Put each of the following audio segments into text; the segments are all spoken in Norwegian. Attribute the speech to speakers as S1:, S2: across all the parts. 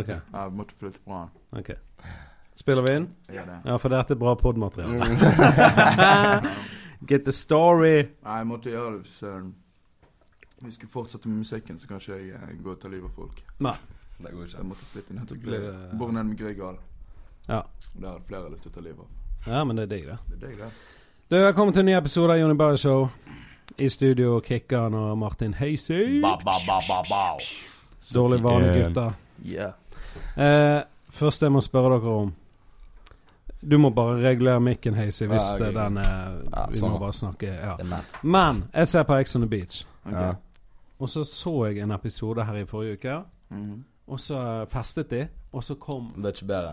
S1: Ok,
S2: Jeg måtte flytte fra han.
S1: ok. Spiller vi inn?
S2: Jeg gjør det.
S1: Ja, for dette er bra podmateriale. Get the story.
S2: Nei, jeg måtte gjøre det hvis eh, vi skulle fortsette med musikken, så kanskje jeg eh, går og tar livet av folk.
S3: Det går
S2: Så
S3: ikke.
S2: jeg måtte flytte ned til
S1: Blir det-
S2: Bor nede med Grieghall.
S1: Ja.
S2: Og der hadde flere lyst til å ta livet av.
S1: Ja, men det er digg, det.
S2: Det er deg, det.
S1: Du, Velkommen til en ny episode av Jonny Bøe Show. I studio Kikkan og Martin Heisøy.
S3: Ba, ba, ba, ba, ba.
S1: Dårlig vane, gutter.
S2: Yeah.
S1: Eh, først jeg må spørre dere om Du må bare regulere mikken, Heisøy, hvis
S3: Ja, ok,
S1: det er den er
S3: Ja,
S1: Vi
S3: sånn.
S1: må bare snakke ja.
S3: Det er matt.
S1: Men jeg ser på Ex on the Beach.
S3: Ja.
S1: Og så så jeg en episode her i forrige uke.
S2: Mhm.
S1: Og så festet de, og så kom
S3: Det er ikke bedre.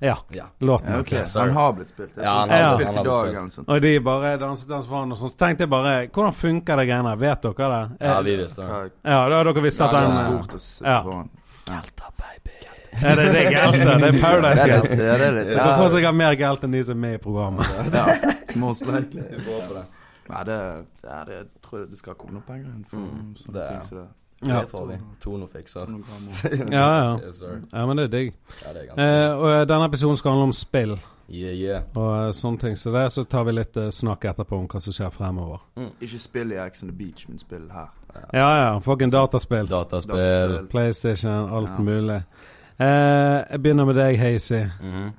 S1: Ja,
S3: Ja.
S1: låten.
S2: Ja, ok,
S3: Ok,
S2: så han
S3: sorry.
S2: har blitt spilt. Jeg
S3: Ja,
S2: tror
S3: han
S2: ikke
S1: har
S2: spilt
S3: blitt-
S2: i dag
S3: han har blitt
S2: eller noe sånt.
S1: Og de bare danset dans foran og sånn. Så tenkte jeg bare Hvordan funker det greiene? her? Vet dere det? Eh,
S3: Ja, vi visste det.
S2: Hva-
S1: ja, da har dere visst at
S2: Ja,
S1: den
S2: han
S1: eh,
S2: har spurt oss
S1: ja.
S2: på han.
S1: Ja, det, det er galt, det. Det er Paradise
S2: Ja,
S1: Galt.
S2: det er det, det er
S1: Jeg tror jeg har mer galt enn de som er med i programmet.
S2: Ja, most likely.
S3: Vi går for det.
S2: Nei, det, ja, det jeg tror jeg det skal komme noen penger inn for
S3: Mm,
S2: sånne
S3: det er-
S2: ting som det.
S1: Ja.
S3: Det får vi. Tono fikser.
S2: Noen gammel.
S1: Ja, ja.
S3: Yes, sir.
S1: ja, men det er digg.
S3: Ja, det er ganske
S1: Eh, og eh, denne episoden skal handle om spill
S3: Yeah, yeah.
S1: og eh, sånne ting. Så det så tar vi litt eh, snakk etterpå om hva som skjer fremover.
S2: Ikke spill i Ex on the Beach, men spill her.
S1: Ja ja, fucking dataspill.
S3: Dataspill.
S2: Dataspill.
S1: PlayStation, alt
S2: Ja.
S1: mulig. Eh, jeg begynner med deg, Hazy.
S3: Mhm.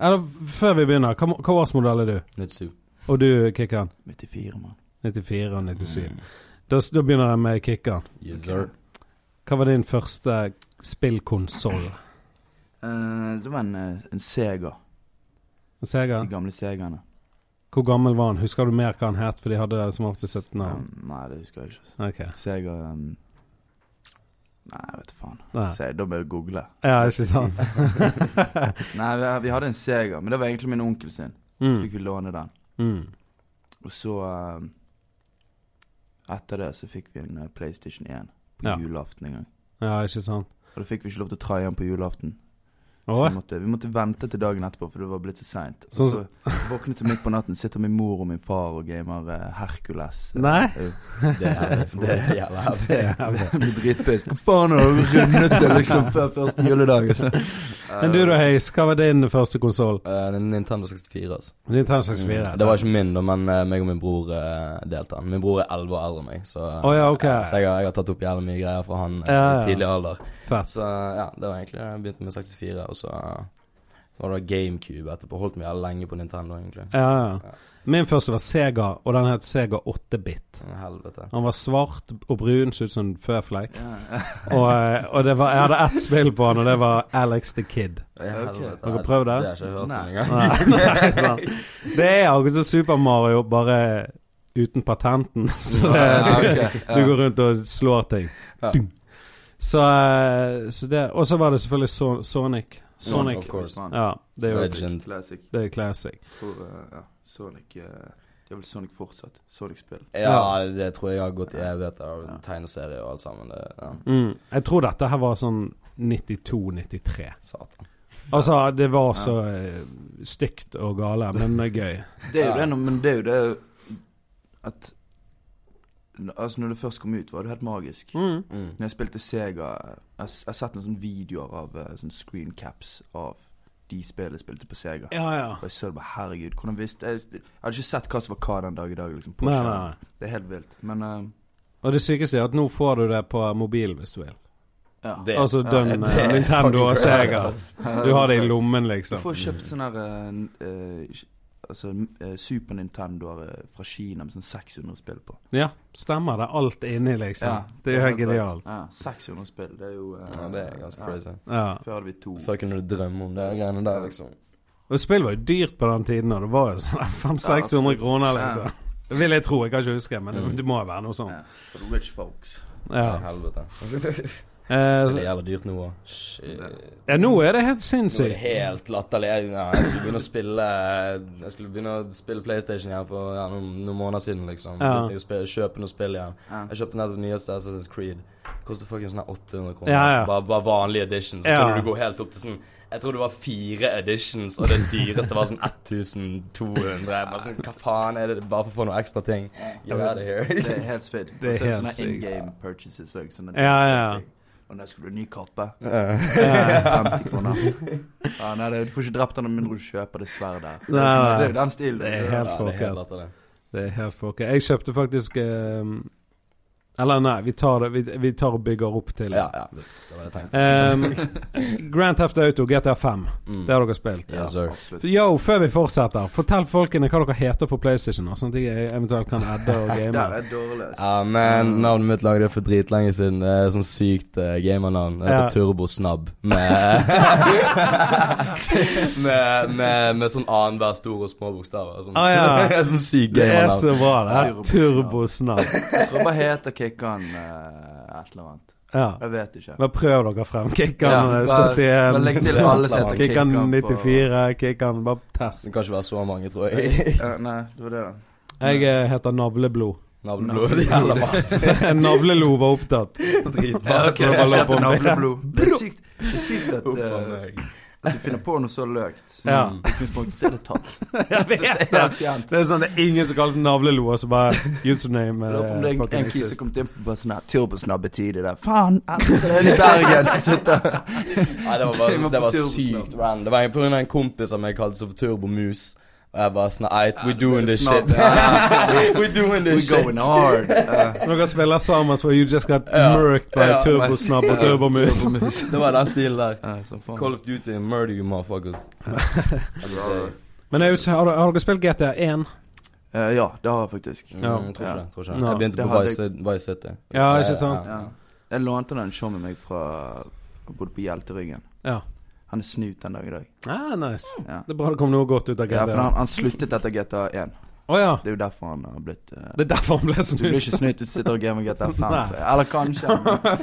S1: Eller før vi begynner, hva, mo- hva årsmodell er du?
S3: Nytt sup.
S1: Og du, Kikkan?
S2: 94, mann.
S1: 94 og 97.
S3: Mm.
S1: Da, s- da begynner jeg med Kikkan.
S3: Yes,
S2: Ok.
S3: sir.
S1: Hva var din første spillkonsoll?
S2: Eh, det var en, eh, en Sega.
S1: Sega?
S2: De gamle Segaene.
S1: Hvor gammel var han? Husker du mer hva han het? For de hadde som ofte 17
S2: Eh,
S1: navn.
S2: nei, det husker jeg ikke.
S1: Ok.
S2: Sega um, Nei, jeg vet da faen.
S1: Nei.
S2: Se, da bør jeg google.
S1: Ja, ikke sant?
S2: Nei, vi, vi hadde en Sega, men det var egentlig min onkel sin. Så
S1: Mm.
S2: fikk vi låne den.
S1: Mm.
S2: Og så eh, Etter det så fikk vi en eh, PlayStation 1 på
S1: Ja.
S2: julaften en gang.
S1: Ja, ikke sant?
S2: Og da fikk vi ikke lov til å try igjen på julaften. Så
S1: Å,
S2: vi måtte, vi måtte vente til dagen etterpå, for det var blitt så seint. Så,
S1: Sånn-
S2: våknet jeg midt på natten, sitter min mor og min far og gamer eh, Hercules. Eh,
S1: Nei.
S2: jo.
S3: Det er heavy. Det er jævla heavy.
S1: det er jævlig.
S2: Jeg blir dritpist. Hva faen har du rundet det liksom før første juledag?
S1: Men du da, Heis, hva var din første konsoll?
S3: Eh, det er Nintendo 64, altså.
S1: Nintendo
S3: Mm.
S1: 64?
S3: Det var ikke min, da, men eh, meg og min bror eh, delte den. Min bror er 11 år eldre enn meg, så,
S1: Å ja, ok.
S3: så jeg, har, jeg har tatt opp jævlig mye greier fra han eh,
S1: Ja, ja.
S3: i tidlig alder.
S1: Fett.
S3: Så ja, det var egentlig Jeg begynte med 64, og så var det GameCube etterpå. Holdt meg jævlig lenge på Nintendo, egentlig.
S1: Ja, ja. Min første var Sega, og den het Sega 8-bit.
S3: Men Helvete.
S1: Han var svart og brun, så ut som en føflekk.
S2: Ja.
S1: Og, eh, og det var, jeg hadde ett spill på han, og det var Alex the Kid.
S3: Helvete.
S1: Har dere prøvd det?
S3: Det har jeg ikke hørt om
S2: Nei.
S3: engang.
S1: Nei, nei, sant. Det er akkurat som Super Mario, bare uten patenten. Så det,
S2: Ja, ok,
S1: Du går rundt og slår ting.
S3: Ja.
S1: Dung. Så, eh, så det Og så var det selvfølgelig so Sonic. Sonic.
S3: of course.
S1: Ja, det er jo
S3: Legend.
S2: Classic.
S1: det er classic.
S2: Tror, eh, ja, Sonic eh, Det er vel Sonic fortsatt. Sonic-spill.
S3: Ja, det tror jeg har gått i evigheter av
S2: Ja.
S3: tegneserier og alt sammen. Det, ja.
S1: Mm. Jeg tror dette her var sånn 92-93.
S3: Satan.
S1: Altså, det var så eh, stygt og gale, men eh, gøy.
S2: Det er jo
S3: Ja.
S2: det, nå, men det er jo det at n- Altså, når det først kom ut, var det helt magisk.
S1: Mm.
S3: Mm.
S2: Når jeg spilte Sega Jeg har s- jeg har sett noen sånne videoer av eh, sånne screen caps av de spillene jeg spilte på Sega.
S1: Ja, ja.
S2: Og jeg så det bare, herregud, hvordan visste jeg Jeg hadde ikke sett hva som var hva den dag i dag, liksom. På
S1: Nei, nei,
S2: skjermen.
S1: nei.
S2: Det er helt vilt. Men eh,
S1: Og det sykeste er at nå får du det på mobil hvis du vil.
S2: ja.
S3: Det-
S1: Altså
S2: Ja,
S1: den
S3: det
S1: eh,
S3: er
S1: Nintendo og
S3: fucking crazy, altså.
S1: Sega.
S3: ass.
S1: Du har det i lommen,
S2: Du
S1: liksom.
S2: får kjøpt sånne her eh, n- eh, sh- Altså eh, Super Nintendoer eh, fra Kina med sånn 600 spill på.
S1: Ja, stemmer det. Alt inni, liksom. Det er jo helt
S2: helt
S1: genialt.
S2: vilt. Ja, 600 spill, det er jo eh,
S3: Ja, det er ganske
S2: ja.
S3: crazy.
S1: Ja.
S2: Før hadde vi to.
S3: Før kunne du drømme om det greiene der, liksom.
S1: Og spill var jo dyrt på den tiden, og det var jo sånn 500-600
S2: absolutt.
S1: kroner, liksom. Det vil jeg tro. Jeg kan ikke huske, men det,
S3: Mm.
S1: det må jo være noe sånt.
S2: Ja, for rich folks.
S3: Ja.
S1: Ja.
S3: Helvete.
S1: Eh,
S3: Det
S1: så-
S3: gjelder dyrt nå òg. Shit.
S1: ja, nå er det helt
S3: Nå er det
S1: sinnssykt.
S3: helt latterlig. Jeg, ja, jeg skulle begynne å spille Jeg skulle begynne å spille PlayStation igjen for ja, noen, noen måneder siden, liksom.
S1: Ja.
S3: Begynte Jeg å spe- kjøpe noe spill igjen.
S2: Ja.
S3: Jeg kjøpte nettopp nyeste Assassin's Creed. Koster fucking sånn her 800 kroner.
S1: Ja, ja.
S3: Bare, bare vanlig edition. Så
S1: Ja.
S3: kunne du gå helt opp til sånn Jeg tror det var fire editions, og det dyreste var sånn 1200. Jeg Bare sånn, Hva faen er det? Bare for å få noen ekstra ting. Get out of here.
S2: Det er helt spidd.
S1: Det er
S2: Og så er det
S1: helt
S2: sånne
S1: sykt.
S2: in game purchases òg.
S1: Ja, ja.
S2: Og der skulle du ha ny kappe.
S3: Eh,
S2: 50 kroner. Ja, nei, det, du får ikke drept han med mindre du kjøper det sverdet. Det er
S1: Nei,
S2: sånn-
S1: nei.
S2: Det er jo den stilen.
S1: Det er
S2: Ja.
S1: helt
S3: ja, det er helt etter det.
S1: Det er helt folke. Jeg kjøpte faktisk eh, Eller nei, vi tar, det, vi, vi tar og bygger opp til det.
S3: Ja, ja, det det var det jeg tenkte.
S1: Ehm, Grand Theft Auto, GTA5.
S3: Mm.
S1: Det har dere spilt.
S3: Yes, sir.
S2: absolutt.
S1: Yo, før vi fortsetter, fortell folkene hva dere heter på PlayStation, sånn at jeg eventuelt kan adde og
S2: Der
S1: game.
S2: er dårlig. ass.
S3: Ja, men navnet mitt lagde jeg for dritlenge siden. Det er sånn sykt eh, gamernavn. Det
S1: Ja.
S3: heter Turbosnabb. Med, med, med, med sånn annenhver stor og små bokstaver. Sånn,
S1: Ah, ja.
S3: sånn sykt
S1: Det er
S3: gamernavn.
S1: så bra, det her. Turbosnabb.
S2: Jeg tror bare heter Kikkan eh, et eller annet.
S1: Ja.
S2: Jeg vet ikke.
S1: Bare prøv dere frem. eh, Kikkan
S2: Ja, bare- bare legg
S1: 71.
S2: til alle som heter
S1: Kikkan
S2: Kikkan på-
S1: 94. Kikkan Bare test.
S3: Det kan ikke være så mange, tror jeg.
S2: Ja, nei, Eh, det var det, da.
S1: Jeg eh, heter Navleblod.
S3: Navneblod. Det gjelder bare.
S1: Navlelo var opptatt.
S2: Ja,
S1: Så det
S2: ok,
S1: var
S2: jeg heter
S1: lopper med.
S2: navleblod. Det er sykt, det er sykt at,
S3: Huff a
S2: eh,
S3: meg.
S2: at du finner på noe så løkt.
S1: Ja.
S2: I utgangspunktet så er det tatt.
S1: Jeg
S2: Så det
S1: vet
S2: er
S1: det.
S2: helt fjernt.
S1: Det er sånn, det er ingen som kalles Navlelo, og så bare username
S2: Jeg
S1: eh,
S2: Lurer på om det er en-
S1: fucking
S2: en kis som
S1: exist.
S2: kom inn på bare sånn her turbosnabbetid i det. Faen! Det er i Bergen som sitter
S3: Nei, det var,
S2: Jeg må på
S3: bare, det var
S2: turbosnabb.
S3: sykt random. Det var en- på grunn av en kompis som jeg kalte seg for Turbomus. Og jeg bare sånn Nei, we doing this shit.
S2: snabb.
S3: We doing this
S2: We're
S3: shit.
S2: going hard. Eh,
S1: Når dere spiller sammen, så you just got
S3: Ja.
S1: murked by
S3: Ja,
S1: turbosnabb og turbomus.
S3: Det var den stilen der.
S2: eh, så faen.
S3: Call of Duty and murder you motherfuckers.
S1: Men jeg husker, har, dere- har dere spilt GTA1?
S2: Eh, ja, det har jeg faktisk.
S3: Mm,
S1: Ja.
S3: tror ikke
S2: Ja.
S3: det. Tror ikke det.
S1: Nå.
S3: Jeg begynte
S2: Det
S3: på
S2: hadde
S3: Vice, Vice City.
S1: Ja, ikke sant?
S2: Ja. Jeg lånte den show med meg fra Jeg bodde på Hjelteryggen.
S1: Ja.
S2: Han er snut den dag i dag.
S1: Ah, nice.
S2: Ja.
S1: Det er bra det kom noe godt ut av
S2: Ja, for han,
S1: GTA.
S2: han sluttet etter GTA 1.
S1: Å ja.
S2: Det er jo derfor han har blitt eh,
S1: Det er derfor han ble
S2: Du blir
S1: snudd.
S2: ikke snytt hvis du sitter og gamer GTA 5.
S1: Nei.
S2: for- Eller kanskje.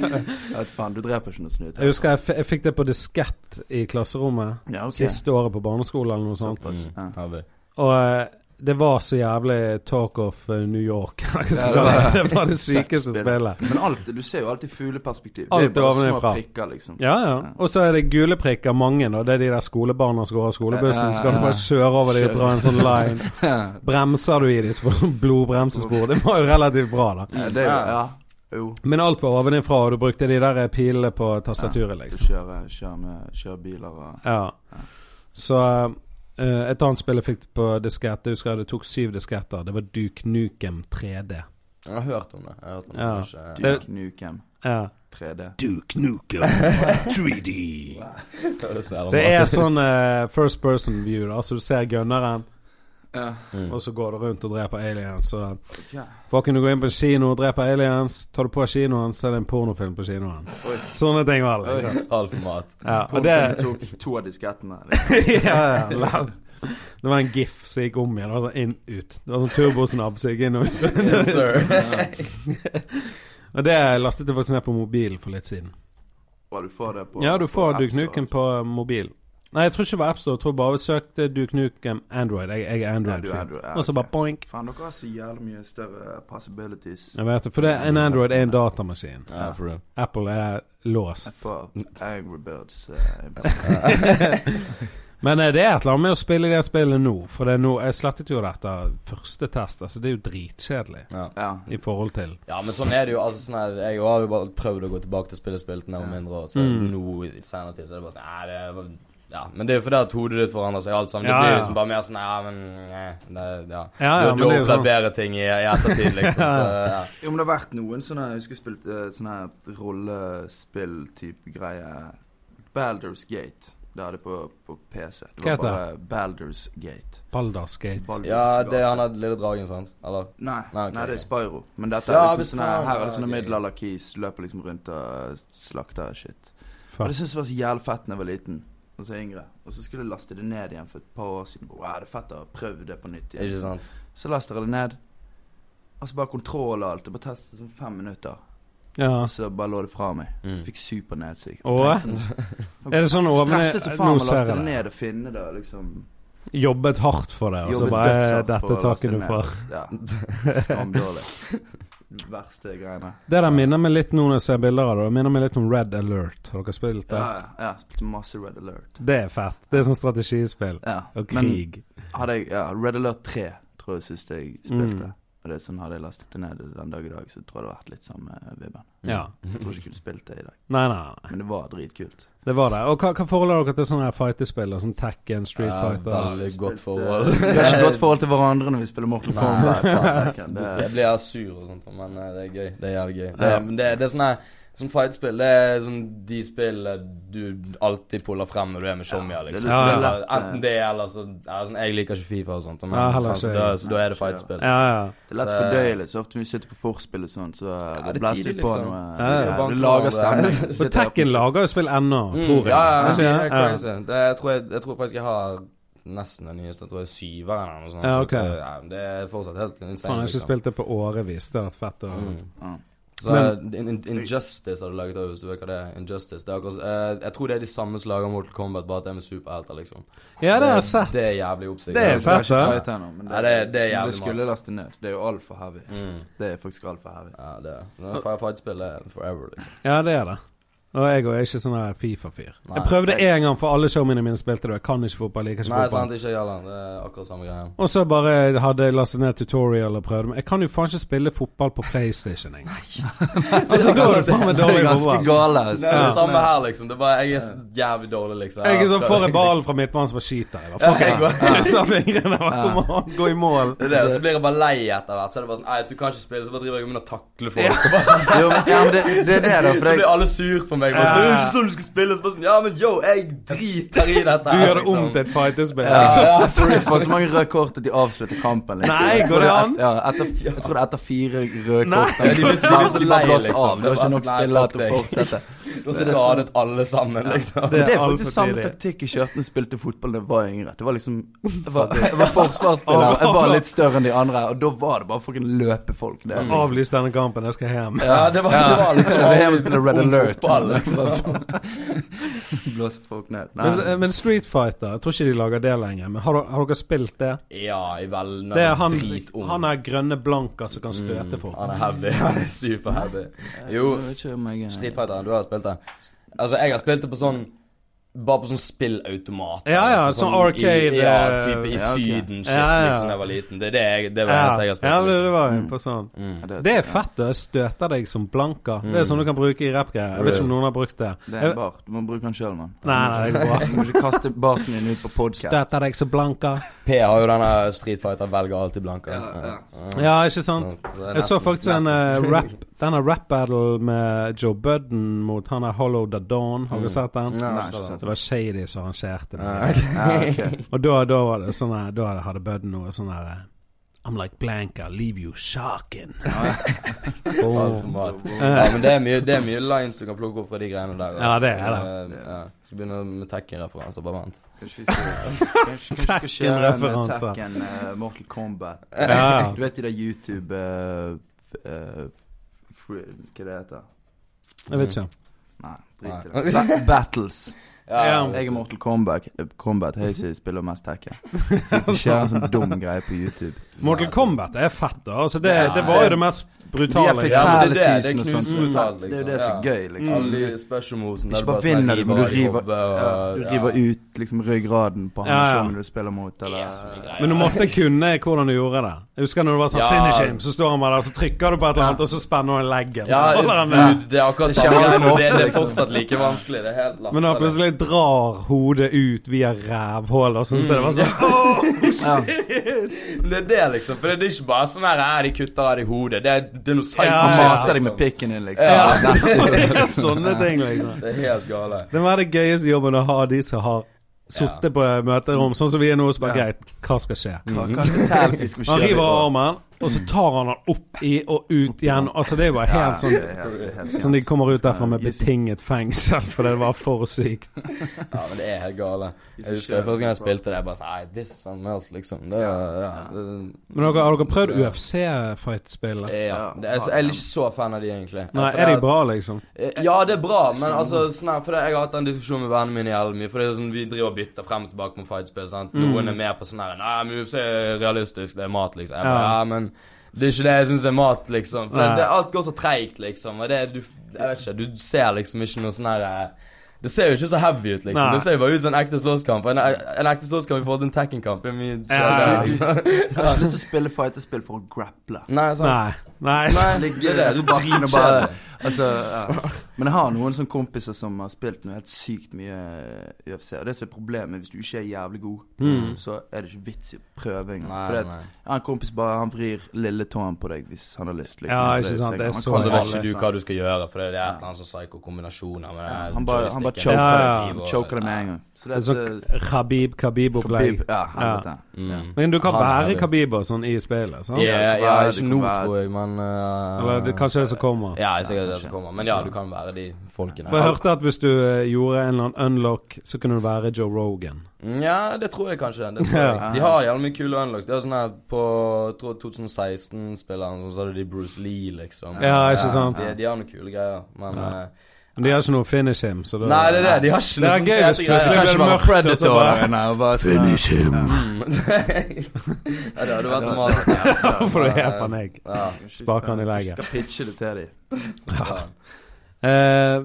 S2: men- Jeg vet faen, du dreper ikke noe snytt.
S1: Jeg husker jeg, f jeg fikk det på diskett i klasserommet
S2: Ja, ok.
S1: siste året på barneskolen eller noe sånt.
S2: Såpass, ja.
S3: Mm, har vi.
S1: Og eh, det var så jævlig talk of eh, New York. Jeg skal
S2: Ja, det
S1: kalle
S2: var-
S1: det det var det
S2: Sykt
S1: sykeste
S2: spill.
S1: spillet.
S2: Men alt, du ser jo alltid fugleperspektiv.
S1: Alt
S2: det er bare
S1: ovenifra.
S2: små prikker, liksom.
S1: Ja, ja. Og så er det gule prikker, mange. da Det er de der skolebarna som går av skolebussen. Så kan du bare kjøre over dem og dra en sånn line. Bremser du i dem, så får du sånn blodbremsespor. Det var jo relativt bra, da.
S2: Ja, det er jo Ja. Jo.
S1: Men alt var ovenifra, og du brukte de der eh, pilene på tastaturet,
S2: Du
S1: liksom.
S2: kjører, kjører med kjører biler og
S1: Ja. Så eh, et annet spill jeg fikk på diskett, jeg husker jeg det tok syv disketter, det var Duke Nukem 3D.
S3: Jeg har hørt om det. Jeg har hørt om det.
S1: Ja.
S3: men ikke-
S1: Det-
S2: Duke Nukem
S1: Ja.
S2: 3D.
S1: Duke Nukem 3D.
S3: Det er så jævla
S1: Det
S3: bra.
S1: er sånn eh, first person view, da. Så du ser gunneren,
S2: Ja.
S3: Mm.
S1: og så går du rundt og dreper aliens. Så
S2: ok.
S1: Folk kunne gå inn på en kino og drepe aliens. Tar du på kinoen, så er det en pornofilm på kinoen.
S2: Oi.
S1: Sånne ting var det. Liksom.
S3: All format.
S1: Ja, og det,
S2: Pornofilm tok to av diskettene. liksom.
S1: ja, ja, la- det var en gif som gikk om igjen. Det var sånn inn ut. Det var sånn turbosnabb som gikk inn og ut.
S3: Yes, sir.
S1: og det lastet jeg faktisk ned på mobilen for litt siden.
S2: Og du får det på
S1: Ja, du
S2: på
S1: får
S2: App
S1: Duke
S2: Store.
S1: Nukem på eh, mobil. Nei, jeg tror ikke det var AppStore. Jeg tror bare vi søkte Duke Nukem Android. Jeg, jeg er
S2: Ja, du er
S1: Android-fyr.
S2: Android, ja,
S1: Og så
S2: ok.
S1: bare boink.
S2: Faen, dere har så jævlig mye større possibilities.
S1: Jeg vet det, for det, en Android er en datamaskin.
S3: Ja, for real.
S1: Apple er låst.
S2: Jeg får Angry Birds. eh,
S1: Men eh, det er et eller annet med å spille det spillet nå. For det er nå, jeg slettet jo dette første test. Altså, det er jo dritkjedelig
S3: Ja.
S2: ja.
S1: i forhold til
S3: Ja, men sånn er det jo. altså sånn her, Jeg har jo bare prøvd å gå tilbake til spillet spilt mer og mindre, og så
S1: Mm.
S3: nå i senere tid så er det bare sånn Nei, det var, ja, Men det er jo fordi at hodet ditt forandrer seg alt sammen.
S1: Ja,
S3: det blir
S1: ja.
S3: jo liksom bare mer sånn Ja, men nei, det, ja.
S1: Ja, ja,
S3: Du-
S1: men det
S3: du har
S1: er jo
S3: opplevd
S1: sånn.
S3: bedre ting i, i ettertid, liksom. Så ja.
S2: Jo, men det har vært noen sånne Jeg husker jeg spilte eh, sånne her rollespill-type greie. Baldur's Gate. Det hadde jeg på, på PC. Det
S1: Hva
S2: var
S1: heter
S2: bare Baldur's Gate.
S1: Balderskate.
S2: Baldur's
S3: ja, det er
S2: Gate.
S3: han der lille dragen, sant? Eller?
S2: Nei,
S3: Nei, ok,
S2: nei, det
S3: ok.
S2: er Spyro. Men dette
S3: Ja,
S2: er liksom
S3: hvis
S2: sånne,
S3: faen,
S2: her er det
S3: ja,
S2: sånne
S3: ok.
S2: middelalderkis. Løper liksom rundt og slakter shit. Og
S1: Fuck.
S2: det syntes jeg var så jævlig fett da jeg var liten. Og så yngre. Og så skulle jeg laste det ned igjen for et par år siden. Wow, det er fett å prøve det på nytt igjen.
S3: Ikke sant?
S2: Så laster jeg det ned. Og så bare kontroll og alt. Og bare testet sånn fem minutter.
S1: Ja.
S2: Og så bare lå det fra meg.
S3: Mm.
S2: Fikk super ned seg.
S1: Åh? Er det sånn ovne
S2: Stresset så faen
S1: Nå ser
S2: med å laste
S1: jeg
S2: det
S1: det.
S2: ned og finne det, liksom.
S1: Jobbet hardt for det, og så
S2: Jobbet
S1: bare eh,
S2: dødshardt for
S1: Dette
S2: å laste
S1: takker du
S2: ned.
S1: for.
S2: Ja. Skamdårlig. Verste greiene.
S1: Det der minner meg litt nå når jeg ser bilder av det. Det minner meg litt om Red Alert. Har dere spilt
S2: Ja,
S1: det?
S2: ja. ja spilte masse Red Alert.
S1: Det er fett. Det er sånn strategispill.
S2: Ja.
S1: Og krig. Mm.
S2: Men hadde jeg ja, Red Alert 3, tror jeg sist jeg spilte. Og det er sånn Hadde jeg lastet det ned den dag i dag, så tror jeg det hadde vært litt samme vibben.
S1: Ja.
S2: Jeg tror ikke jeg kunne spilt det i dag.
S1: Nei, nei, nei.
S2: Men det var dritkult.
S1: Det var det. Og hva, hva forhold har dere til sånne her fightespill? og Sånn Tekken, Street
S3: Ja,
S1: Fighter?
S3: Veldig
S2: Vi
S3: godt
S2: spilte-
S3: forhold.
S2: Vi har ikke godt forhold til hverandre når vi spiller Mortal Kombat. faen,
S3: Nei,
S2: Tekken,
S3: jeg
S2: det-
S3: blir her sur og sånt, men eh, det er gøy. Det er jævlig gøy. Det,
S1: Ja.
S3: men det, det er sånn her Sånn fightspill det er sånn de spill du alltid puller frem når du er med Shomia,
S2: det er
S3: liksom.
S2: litt-
S1: Ja, ja.
S3: Eller Enten det eller så ja, sånn, Jeg liker ikke Fifa og sånt, men,
S1: eh. Ja, heller
S3: sånn, så,
S1: ikke
S3: da,
S1: jeg.
S3: så da er det fightspill.
S1: Ja, ja.
S2: Det er lett
S3: Så-
S2: fordøyelig. Så ofte vi sitter på vorspiel og sånn, så ja,
S3: det er
S2: det blæster
S3: tidlig,
S2: litt på
S3: liksom.
S2: noe.
S1: Ja, ja.
S2: Ja, Du lager stemning.
S1: Og Tekken lager jo spill ennå, tror jeg.
S3: Mm. Ja,
S1: Ikke
S3: ja, det er
S1: det?
S3: crazy. Det, jeg, tror jeg, jeg tror faktisk jeg har nesten den nyeste. Jeg tror jeg er syveren eller noe sånt.
S1: Ja,
S3: så
S1: ok.
S3: det- ja, det er fortsatt helt insane.
S1: Faen, jeg har ikke
S3: liksom.
S1: spilt det på årevis. Det hadde vært fett. å-
S3: Mm.
S2: Ja.
S3: Så eh,
S1: Men-
S3: In- In- Injustice har du laget av, hvis du vet hva det er. Injustice, det er akkurat, eh, Jeg tror det er de samme som lager Mortal Kombat, bare at det er med superhelter, liksom.
S1: Ja, det har jeg
S3: Så
S1: sett.
S3: Det er jævlig altså. oppsikt.
S1: Det er
S2: Så det
S1: fett,
S2: ikke
S1: det.
S2: tight ennå, men
S3: Ja, det- det er jævlig
S2: det skulle
S3: mat.
S2: laste ned. Det er jo altfor heavy.
S3: Mm.
S2: Det er faktisk altfor heavy.
S3: Ja, det er Når Fire Fight-spill er forever, liksom.
S1: Ja, det er det. Og jeg og jeg er ikke sånn her Fifa-fyr.
S3: Nei.
S1: Jeg prøvde én gang, for alle showene mine spilte det. Jeg kan ikke fotball, jeg liker ikke
S3: Nei,
S1: fotball.
S3: sant, ikke jeg heller. Det er akkurat samme greia.
S1: Og så bare hadde jeg lastet ned tutorial og prøvd. Men jeg kan jo faen ikke spille fotball på PlayStation engang. altså, da er det faen meg
S2: Det
S1: dårlig
S2: er ganske altså.
S1: fotball.
S2: gale.
S3: Det er det samme her, liksom. Det er bare, jeg er så jævlig dårlig, liksom.
S1: Jeg er sånn
S3: prøvd-
S1: får en ball fra midtbanen som bare skyter. Jeg bare, fuck,
S3: jeg går-
S1: jeg krysser fingrene og bare, kom an, gå i mål.
S3: Det er det, og så blir jeg bare lei etter hvert. Så er det bare sånn Nei, du kan ikke spille, så bare driver jeg og begynner å takle folk. og bare-
S2: Jo, men, ja, men det, det er det, da. For
S3: Så
S2: det,
S3: blir alle sur på meg. Bare, sånn, det er jo ikke sånn du skal spille. Så bare sånn Ja, men yo, jeg driter i dette.
S1: Du
S3: her,
S1: gjør det
S3: liksom.
S1: om til et fighterspill.
S2: ja,
S1: liksom.
S2: ja, for de får så mange røde kort at de avslutter kampen. Liksom.
S1: Nei,
S2: Jeg tror
S1: går det
S2: er
S1: an?
S2: et- Ja, etter, jeg tror det er etter fire røde
S1: Nei,
S2: kort.
S1: går
S2: de blir
S1: det an?
S2: bare- de bare
S3: Lei,
S2: blåser
S3: liksom.
S2: av. Det var ikke nok
S3: Nei,
S2: spillere
S3: fuck
S2: til å
S3: deg.
S2: fortsette.
S3: Du har skadet alle sammen, liksom.
S1: Det
S2: Men
S1: er
S2: det er
S1: alt for
S2: faktisk samme
S1: tidlig.
S2: taktikk jeg kjørte når jeg spilte fotball da jeg var yngre. Det var liksom Jeg var, jeg var forsvarsspiller, jeg var litt større enn de andre, og da var det bare fucking løpe folk. Det,
S1: Mm.
S2: er liksom.
S1: Avlys denne kampen, jeg skal hjem.
S3: Ja, det var, det var liksom
S2: Det er hjemme og spiller Red
S3: om
S2: Alert.
S3: fotball, liksom.
S2: Blåse folk ned. Nei.
S1: Men, eh, men Street Fighter, jeg tror ikke de lager det lenger. Men har, dere- har dere spilt det?
S3: Ja, i vel
S1: Det er han,
S3: dritung. Mm.
S1: han er grønne blanker som kan støte folk.
S3: Han er heavy. Han er super heavy. Jo,
S2: Jeg vet ikke om jeg-
S3: Street Fighter, du har spilt det. Altså, jeg har spilt det på sånn bare på sånn spillautomat.
S1: Ja, ja,
S3: altså,
S1: sånn arcade,
S3: I, ja, type i
S2: ja, ok.
S3: Syden, shit,
S1: Ja, ja.
S3: liksom, da jeg var liten. Det er det jeg, det var det
S1: Ja,
S3: eneste jeg har spilt.
S1: ja, det,
S3: liksom.
S1: det var jo på sånn.
S2: Ja,
S1: Det er fett. Det støter deg som blanka. Det
S3: Mm.
S1: er sånn du kan bruke i rappgreier. Jeg vet ikke om noen har brukt det.
S2: Det er
S1: Jeg-
S2: en bar. Du må bruke den sjøl, mann.
S1: Nei, nei, det går bra.
S2: Du må ikke kaste barsen din ut på podkast.
S1: Støter deg som blanka.
S3: P har jo denne Street Fighter velger alltid blanke.
S1: Ja, ikke sant?
S3: Så det er
S1: Jeg så
S3: nesten-
S1: faktisk en eh,
S3: nesten.
S1: rap Denne rap-battle med Joe Budden mot han der Hollow the Dawn.
S3: Mm.
S1: Har du sett den?
S2: Nei,
S3: Nei, så-
S2: ikke sant.
S1: Det var Shady som arrangerte det.
S3: Ah, ok.
S1: Og da, da var det sånn her Da hadde Budden noe sånn her eh, I'm like Blanka, leave you shocking.
S3: Alt for
S1: oh.
S3: mat. Ja, men det er, mye, det er mye lines du kan plukke opp fra de greiene der.
S1: Ja, det er
S3: det. Ja. Skal begynne med Tekken-referanser, bare vent.
S2: Kanskje vi skal- kanskje vi skal kjøre en, eh,
S1: Tekken-referanse.
S2: Tekken, eh, Mortal Kombat.
S1: Ja,
S2: Du vet de der YouTube eh, f- eh, fr- Hva det heter
S1: jeg vet
S3: Mm.
S1: ikke.
S2: Nei, drit i det. Ba- Battles.
S1: Ja,
S3: altså.
S2: Jeg er Mortal Kombat, eh, Kombat jeg som spiller mest Tekken. Så vi kjører en sånn dum greie på YouTube.
S1: Mortal Kombat er fett, da. Altså, det,
S3: Ja.
S1: det var jo det mest
S2: De
S1: brutale.
S2: er
S1: Ja,
S3: Ja, men det er det, det
S2: Fatalitiesen og
S3: knuser
S2: sånt.
S3: brutalt,
S2: Det er jo
S3: liksom.
S2: det som er
S3: Ja.
S2: gøy, liksom.
S3: Alle de special movesen
S2: Ikke bare
S3: sånn
S2: vinner du, men du river, ja, du river ut liksom ryggraden på han
S1: Ja, ja.
S2: personen du spiller mot, eller
S1: Men du måtte kunne hvordan du gjorde det. Jeg husker når det var sånn
S3: Ja.
S1: finish him, så står han bare der, så trykker du på et eller annet, og så spenner han leggen.
S3: Ja,
S1: så holder han der.
S3: dude, det er akkurat
S2: Det skjer
S3: samme greie, men
S2: ofte,
S3: det, det er
S2: liksom.
S3: fortsatt like vanskelig. Det er helt latterlig.
S1: Men han plutselig drar hodet ut via rævhullet og sånn, så det var sånn
S3: Det er det, liksom. For det er ikke bare sånn her «Ah, de kutter av deg hodet. Det er, det er noe psycho
S1: Ja,
S2: Han
S1: ja.
S2: mater deg med pikken din, liksom.
S1: Ja,
S2: That's
S3: Mm.
S2: it.
S1: det er sånne ting, liksom.
S3: Det er helt gale.
S1: Det må være det gøyeste jobben å ha de som har sittet på møterom, sånn som vi er nå, som bare
S2: Ja.
S1: greit, hva skal skje?
S2: Hva- hva er det talt vi skal
S1: Han
S2: kjøre
S1: river av
S2: i år?
S1: armen, og så tar han han opp i og ut igjen. Altså, det er jo bare helt
S2: Ja,
S1: sånn
S2: det er helt- det er helt
S1: Sånn de
S2: jævlig.
S1: kommer ut derfra med
S2: Skal jeg-
S1: betinget fengsel, for det var for sykt.
S3: Ja, men det er helt gale. Jeg husker første gang jeg spilte det, jeg bare sånn Nei, this is something else, liksom. Det, er- ja, det,
S1: Men dere, har dere prøvd UFC-fightspillet?
S3: Ja. Det, jeg, jeg er ikke så fan av de, egentlig.
S1: Nei,
S3: For
S1: er de
S3: det-
S1: bra, liksom?
S3: Eh, Ja, det er bra, men altså sånn her, For det, Jeg har hatt den diskusjonen med vennene mine jævlig mye. For det er sånn, Vi driver og bytter frem og tilbake med fightspill. sant?
S1: Mm.
S3: Noen er mer på sånn her Nei, men UFC er realistisk, det er mat, liksom. Jeg bare,
S1: Ja.
S3: ja, men det er ikke det jeg syns er mat, liksom. For det,
S1: Nei.
S3: det, alt går så treigt, liksom. Og det du Jeg vet ikke, du ser liksom ikke noe sånn her eh, Det ser jo ikke så heavy ut, liksom.
S1: Nei.
S3: Det ser jo bare ut som en ekte slåsskamp. En, en ekte slåsskamp i forhold til en Tekken-kamp. er mye
S1: Ja.
S3: kjedeligere, liksom.
S2: Jeg har ikke lyst til å spille fighterspill for å grapple.
S3: Nei, sant.
S1: Nei. Nei.
S3: Nei,
S2: Ligge
S3: det er det.
S2: på bakken og bare altså, ja. Men jeg har noen sånne kompiser som har spilt noe helt sykt mye UFC. Og det som er problemet, hvis du ikke er jævlig god,
S1: Mm.
S2: så er det ikke vits i prøving.
S3: Nei,
S2: For at
S3: nei.
S2: jeg har en kompis bare han vrir lille tåen på deg hvis han har lyst. Liksom.
S1: Ja,
S2: Og
S1: ikke sant,
S2: sikkert-
S1: det er
S2: han
S1: så
S2: kan
S3: Og så Altså, vet
S2: alle,
S3: ikke du
S2: sant?
S3: hva du skal gjøre, for det er et eller annet sånn psyko-kombinasjoner med
S2: Han bare, han bare
S3: joysticken.
S2: choker
S1: Ja, ja.
S2: det. Han choker det med en gang. Så det
S1: Det
S2: er
S1: er sånn Khabib Khabib-opplegg.
S2: Khabib- Ja, helvete. Ja.
S3: Mm.
S1: Men du kan
S3: Han er
S1: være
S3: det.
S1: Khabib og sånn i spillet, sant?
S3: Ja,
S2: det kan
S3: ja,
S2: være, det
S3: ikke
S2: kan
S3: nå,
S2: være.
S3: tror jeg, men eh,
S1: Eller det, kanskje det som kommer.
S3: Ja, jeg er sikkert
S2: Ja,
S3: det som
S2: kanskje.
S3: kommer. Men ja, du kan være de folkene.
S1: For jeg hørte at hvis du eh, gjorde en eller annen unlock, så kunne du være Joe Rogan.
S3: Mm, Ja, det tror jeg kanskje. Det tror jeg.
S1: Ja.
S3: De har jævlig mye kule unlocks. Det er sånn her på jeg tror 2016-spilleren, så hadde de Bruce Lee, liksom.
S1: Ja, ikke sant?
S3: De, de har noen kule greier, men
S1: Ja.
S3: eh,
S1: Men de har ikke noe finish him, så da
S3: Nei, det er det. De har ikke
S1: Det er
S3: noen
S1: gøy
S3: fete
S1: hvis plutselig
S3: greier.
S1: blir
S2: Kanskje
S1: det
S2: bare
S1: mørkt, og så
S2: Predator
S1: bare
S2: der og bare Finish him.
S3: sånn- Mm. Ja, det hadde vært normalt. Ja,
S1: Da får du helt panikk.
S3: Ja,
S1: Spaker han i legget.
S2: Skal pitche det til dem.
S3: så-
S1: Eh,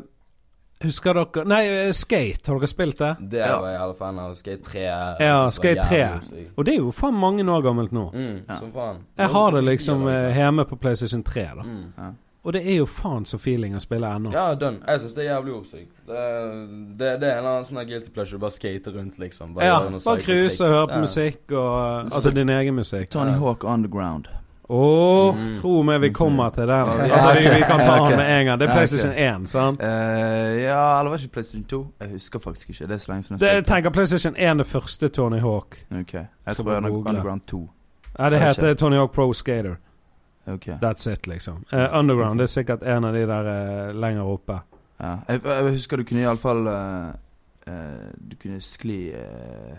S1: husker dere Nei, eh, Skate, har dere spilt det?
S3: Det er jo jeg jævlig fan av. Skate 3. jeg
S1: Ja,
S3: synes det
S1: Skate
S3: var
S1: 3.
S3: jævlig sykt.
S1: Og det er jo faen mange år gammelt nå.
S3: Mm,
S2: Ja.
S3: Som faen.
S1: Jeg har det liksom eh, hjemme på PlayStation 3, da.
S3: Mm.
S1: Og det er jo faen så feeling å spille ennå.
S3: Ja, dønn. Jeg syns det er jævlig oppsykt. Det, det, det er en eller annen sånn her guilty pleasure. Du bare skater rundt, liksom.
S1: Ja,
S3: gjør noen
S1: bare cruise og
S3: psycho-triks.
S1: høre på
S3: Ja.
S1: musikk og eh, Altså din egen musikk.
S2: Tony Hawk Underground.
S1: Å,
S3: Mm.
S1: tro meg vi kommer til den.
S2: Ja,
S1: Altså, vi,
S2: ok.
S1: vi kan ta
S2: Ja, ok.
S1: den med en gang. Det er
S2: Ja,
S1: PlayStation
S2: ok.
S1: 1, sant?
S2: Eh, ja, eller var det ikke PlayStation 2? Jeg husker faktisk ikke. Det er så lenge siden
S1: Det,
S2: jeg
S1: jeg tenker PlayStation 1 det første Tony Hawk.
S2: spilte. Ok, Jeg
S1: Skal
S2: tror jeg
S1: vi google?
S2: Underground 2.
S1: Ja, det
S2: Jeg vet
S1: heter Tony Hawk Pro Skater.
S2: Ok, ja.
S1: That's it, liksom. Eh, Underground det er sikkert en av de der eh, lenger oppe.
S2: jeg, jeg husker du kunne iallfall uh, uh, Du kunne skli eh,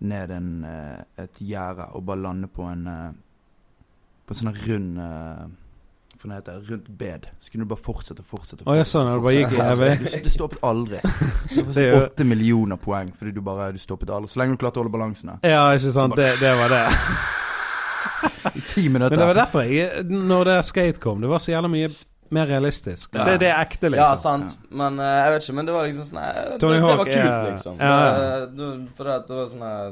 S2: ned en, eh, et gjerde og bare lande på en eh, På en sånn her rund eh, hva det heter Rundt bed. Så kunne du bare fortsette og fortsette.
S1: Å, ja, sånn, ja, det bare gikk i
S2: fortsette.
S1: evig.
S2: Altså, du, du stoppet aldri. Det var
S1: Det er
S2: sånn
S1: jo-
S2: åtte millioner poeng fordi du bare du stoppet aldri. Så lenge du klarte å holde balansen. da.
S1: Ja, ikke sant. Det, det var det.
S2: I ti minutter.
S1: Men det var derfor jeg Når det skate kom, det var så jævla mye mer realistisk.
S2: Ja.
S1: Det, det er ekte,
S3: Ja,
S1: liksom.
S3: sant. Men eh, jeg vet ikke, men det var liksom sånn eh, det,
S1: Tony
S3: det
S1: Hawk
S3: var kult,
S1: er-
S3: liksom.
S1: ja, ja.
S3: Det, du, for det, at det var sånn eh,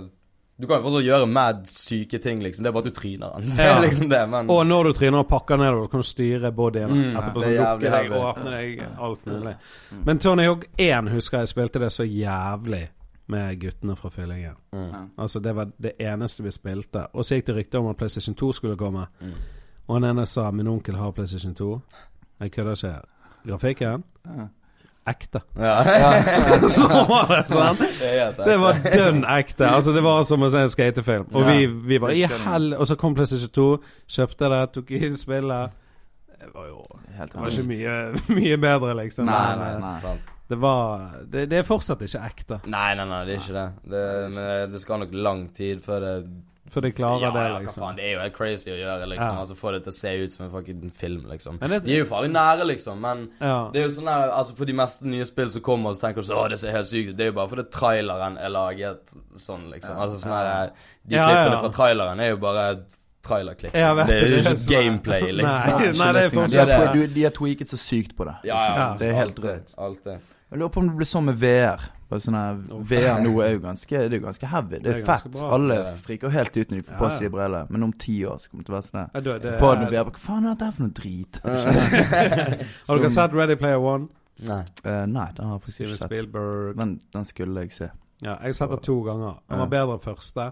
S3: Du kan jo fortsatt gjøre mad syke ting, liksom. Det er bare at du tryner den. Det
S1: Ja.
S3: er liksom det, men
S1: Og når du tryner og pakker nedover, kan du styre bodyen.
S3: Mm,
S1: etterpå
S3: det
S1: så
S3: er
S1: lukker
S3: jævlig
S1: deg og
S3: heavy. Mm.
S1: åpner deg alt mulig. Men Tony Hogg 1 husker jeg spilte det så jævlig med guttene fra fyllingen.
S3: Mm.
S1: Altså Det var det eneste vi spilte. Og så gikk det rykter om at PlayStation 2 skulle komme.
S3: Mm.
S1: Og han ene sa 'min onkel har PlayStation 2'. Jeg kødder ikke. Grafikken
S2: Ja.
S1: ekte.
S3: Ja, ja.
S1: Så var det sant?
S3: det er helt
S1: Det var dønn ekte. Altså Det var som å se en skatefilm. Og
S2: Ja.
S1: vi, vi var i
S2: Det skal
S1: hell Og så kom PlayStation 2, kjøpte det, tok inn spillet. Det var jo
S2: Helt
S1: det var ikke
S2: annerledes.
S1: mye, mye bedre, liksom.
S3: Nei, nei, nei. Sant.
S1: Det var det, det er fortsatt ikke ekte,
S3: Nei, nei, nei, det er ikke det. det men det skal nok lang tid før det
S1: for de klarer
S3: ja,
S1: det,
S3: ja, hva
S1: liksom.
S3: faen, det er jo helt crazy å gjøre, liksom.
S1: Ja.
S3: Altså Få det til å se ut som en fucking film, liksom.
S1: Men det-
S3: De er jo farlig nære, liksom, men
S1: Ja.
S3: Det er jo sånn der, altså For de meste nye spill som kommer, så tenker du sånn Å, det ser helt sykt ut. Det er jo bare fordi traileren er laget sånn, liksom. Altså sånn der, De
S1: Ja,
S3: klippene
S1: ja.
S3: fra traileren er jo bare trailerklipp.
S1: Ja,
S3: Altså, det er
S1: vet du,
S3: jo
S1: det er
S3: ikke
S1: så-
S3: gameplay, liksom.
S1: Nei,
S2: Ikke
S1: nei, det er
S2: lett engang.
S1: fortsatt
S2: de, har,
S3: det.
S2: twe- du- de har tweaket så sykt på det.
S3: Ja,
S2: liksom.
S3: ja.
S1: Ja.
S2: Det er helt
S3: alt det,
S2: drøyt.
S3: Alt det.
S2: Jeg lurer på om det blir sånn med VR. Bare sånn her, VR nå er jo ganske Det er jo ganske heavy. Det
S1: Det
S2: er,
S1: er ganske
S2: fett.
S1: bra.
S2: Alle
S3: Ja.
S2: friker helt ut når de får på
S1: Ja, ja.
S2: seg de brillene. Men om ti år så kommer det til å være sånn her.
S1: Ja, du, det,
S2: På den VR, Hva faen er dette her for noe drit?
S1: har dere sett Ready Player One?
S3: Nei.
S2: Eh, nei, den har jeg faktisk
S1: Steven
S2: ikke sett.
S1: Spielberg.
S2: Men den skulle jeg se.
S1: Ja, jeg har sett det to ganger. Den var bedre første.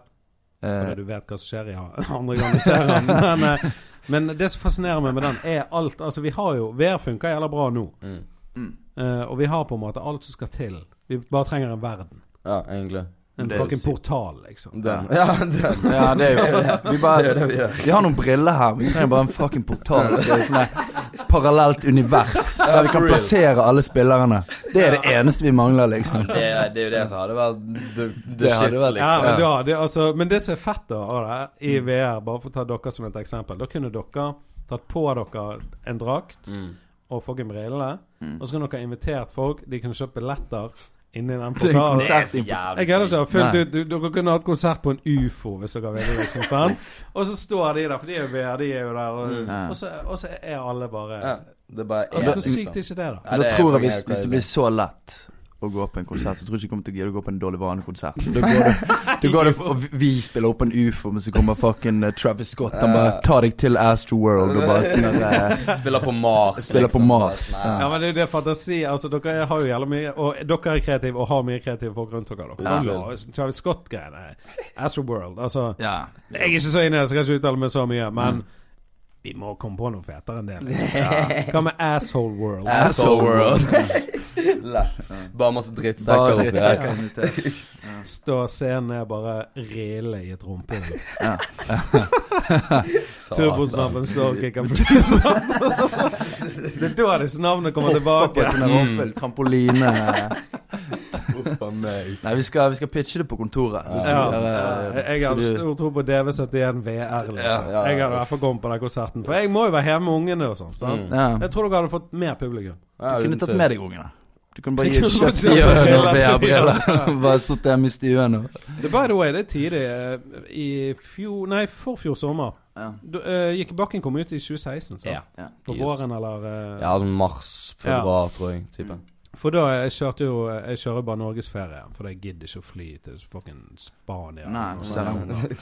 S2: Eh,
S1: Fordi du vet hva som skjer i han- andre gang du ser den. Men, eh, men det som fascinerer meg med den, er alt Altså, vi har jo VR funker jævla bra nå.
S3: Mm.
S1: Eh, og vi har på en måte alt som skal til. Vi bare trenger en verden.
S3: Ja, egentlig.
S1: En
S2: Det er jo
S1: fucking
S2: sykt.
S1: portal, liksom.
S3: Den. Ja, den.
S2: ja, det er jo Vi bare
S3: Det er det vi gjør.
S2: Vi har noen briller her. Vi trenger bare en fucking portal. Det er sånn her parallelt univers der vi kan plassere alle spillerne. Det er det eneste vi mangler, liksom.
S3: Det, er- det er jo det som hadde vært the, the
S2: Det hadde
S3: shit,
S2: vært-
S1: Ja,
S3: liksom.
S1: men, da, det, altså, men det som er fett da av det,
S2: Mm.
S1: i VR, bare for å ta dere som et eksempel Da kunne dere tatt på dere en drakt
S3: Mm.
S1: og fucking brillene,
S2: Mm.
S1: og så kunne dere invitert folk, de kunne kjøpt billetter inni den
S2: Det er en
S1: portalen.
S2: konsert i
S1: Jeg greier ikke å ha fullt
S2: Nei.
S1: ut du- Dere kunne hatt konsert på en ufo hvis dere ville. Liksom, sant? Og så står de der, for de er jo VR, de er jo der. Og,
S2: Ja.
S1: og, så, og så er alle bare
S3: Ja, det er bare
S1: altså,
S3: én,
S1: Hvor
S3: liksom.
S1: sykt er ikke det, da?
S3: Ja,
S2: Men da
S3: det er
S2: tror jeg
S3: fucking
S2: hvis,
S3: helt
S2: hvis det
S3: crazy.
S2: blir så lett å gå på en konsert, så tror jeg ikke jeg kommer til å gidde å gå på en dårlig vanekonsert. Da går det, da går det og vi spiller opp en ufo, men så kommer fucking eh, Travis Scott. Han bare tar deg til Astroworld og bare sånn at, eh,
S3: Spiller på Mars. liksom. sånn
S2: Spiller på Mars,
S3: Nei.
S2: ja.
S1: Ja, men det er jo det fantasi Altså, dere har jo jævla mye Og dere er kreative og har mye kreative folk rundt dere. dere.
S3: Ja.
S1: Ja. Travis Scott-greiene. Astroworld. Altså
S2: Ja.
S1: Jeg er ikke så inne i det, så jeg kan ikke uttale meg så mye, men vi må komme på noe fetere enn det. Liksom. Hva med Asshole World?
S3: Asshole world. Lett. Bare masse
S2: Bare
S3: drittsekker oppi der.
S2: drittsekker. Ja.
S1: Stå scenen er bare rille i et rumpehull.
S3: Satan.
S1: Turbosnabben står og kicker frisnabb. Det er da disse navnene kommer
S2: På
S1: tilbake.
S2: en sånn der rumpel, trampoline
S3: Uff a meg.
S2: Nei, vi skal, vi skal pitche det på kontoret. Vi skal
S1: Ja,
S2: gjøre-
S1: jeg har
S2: så du-
S1: stor tro på DV71 VR. Liksom.
S3: Ja, ja, ja.
S1: Jeg hadde i hvert fall kommet på den konserten. For jeg må jo være hjemme med ungene og sånn. sant?
S3: Mm.
S2: ja.
S1: Jeg tror dere hadde fått mer publikum.
S3: Ja,
S2: Du kunne
S3: uten
S2: tatt
S3: tvil.
S2: med deg ungene. Du kunne bare
S1: Jeg
S2: gi-
S1: kunne
S2: kjøpt
S1: bare
S2: de
S1: kjøpt
S2: og
S1: hele
S2: VR-briller. Bare sittet hjemme i stuen og
S1: Det, by the way, det er tidlig. eh, I fjor Nei, forfjor sommer.
S2: Ja.
S1: Du, eh, gikk Bakken kom ut i 2016, sant?
S3: Ja.
S1: På
S3: Yes.
S1: våren, eller eh,
S3: Ja, Mm. sånn mars, februar, tror jeg. Type.
S1: For da jeg kjørte jo Jeg kjører bare norgesferie, for jeg gidder ikke å fly til fucking Spania.
S2: Nei,
S1: Og
S2: selv om-
S1: sånn.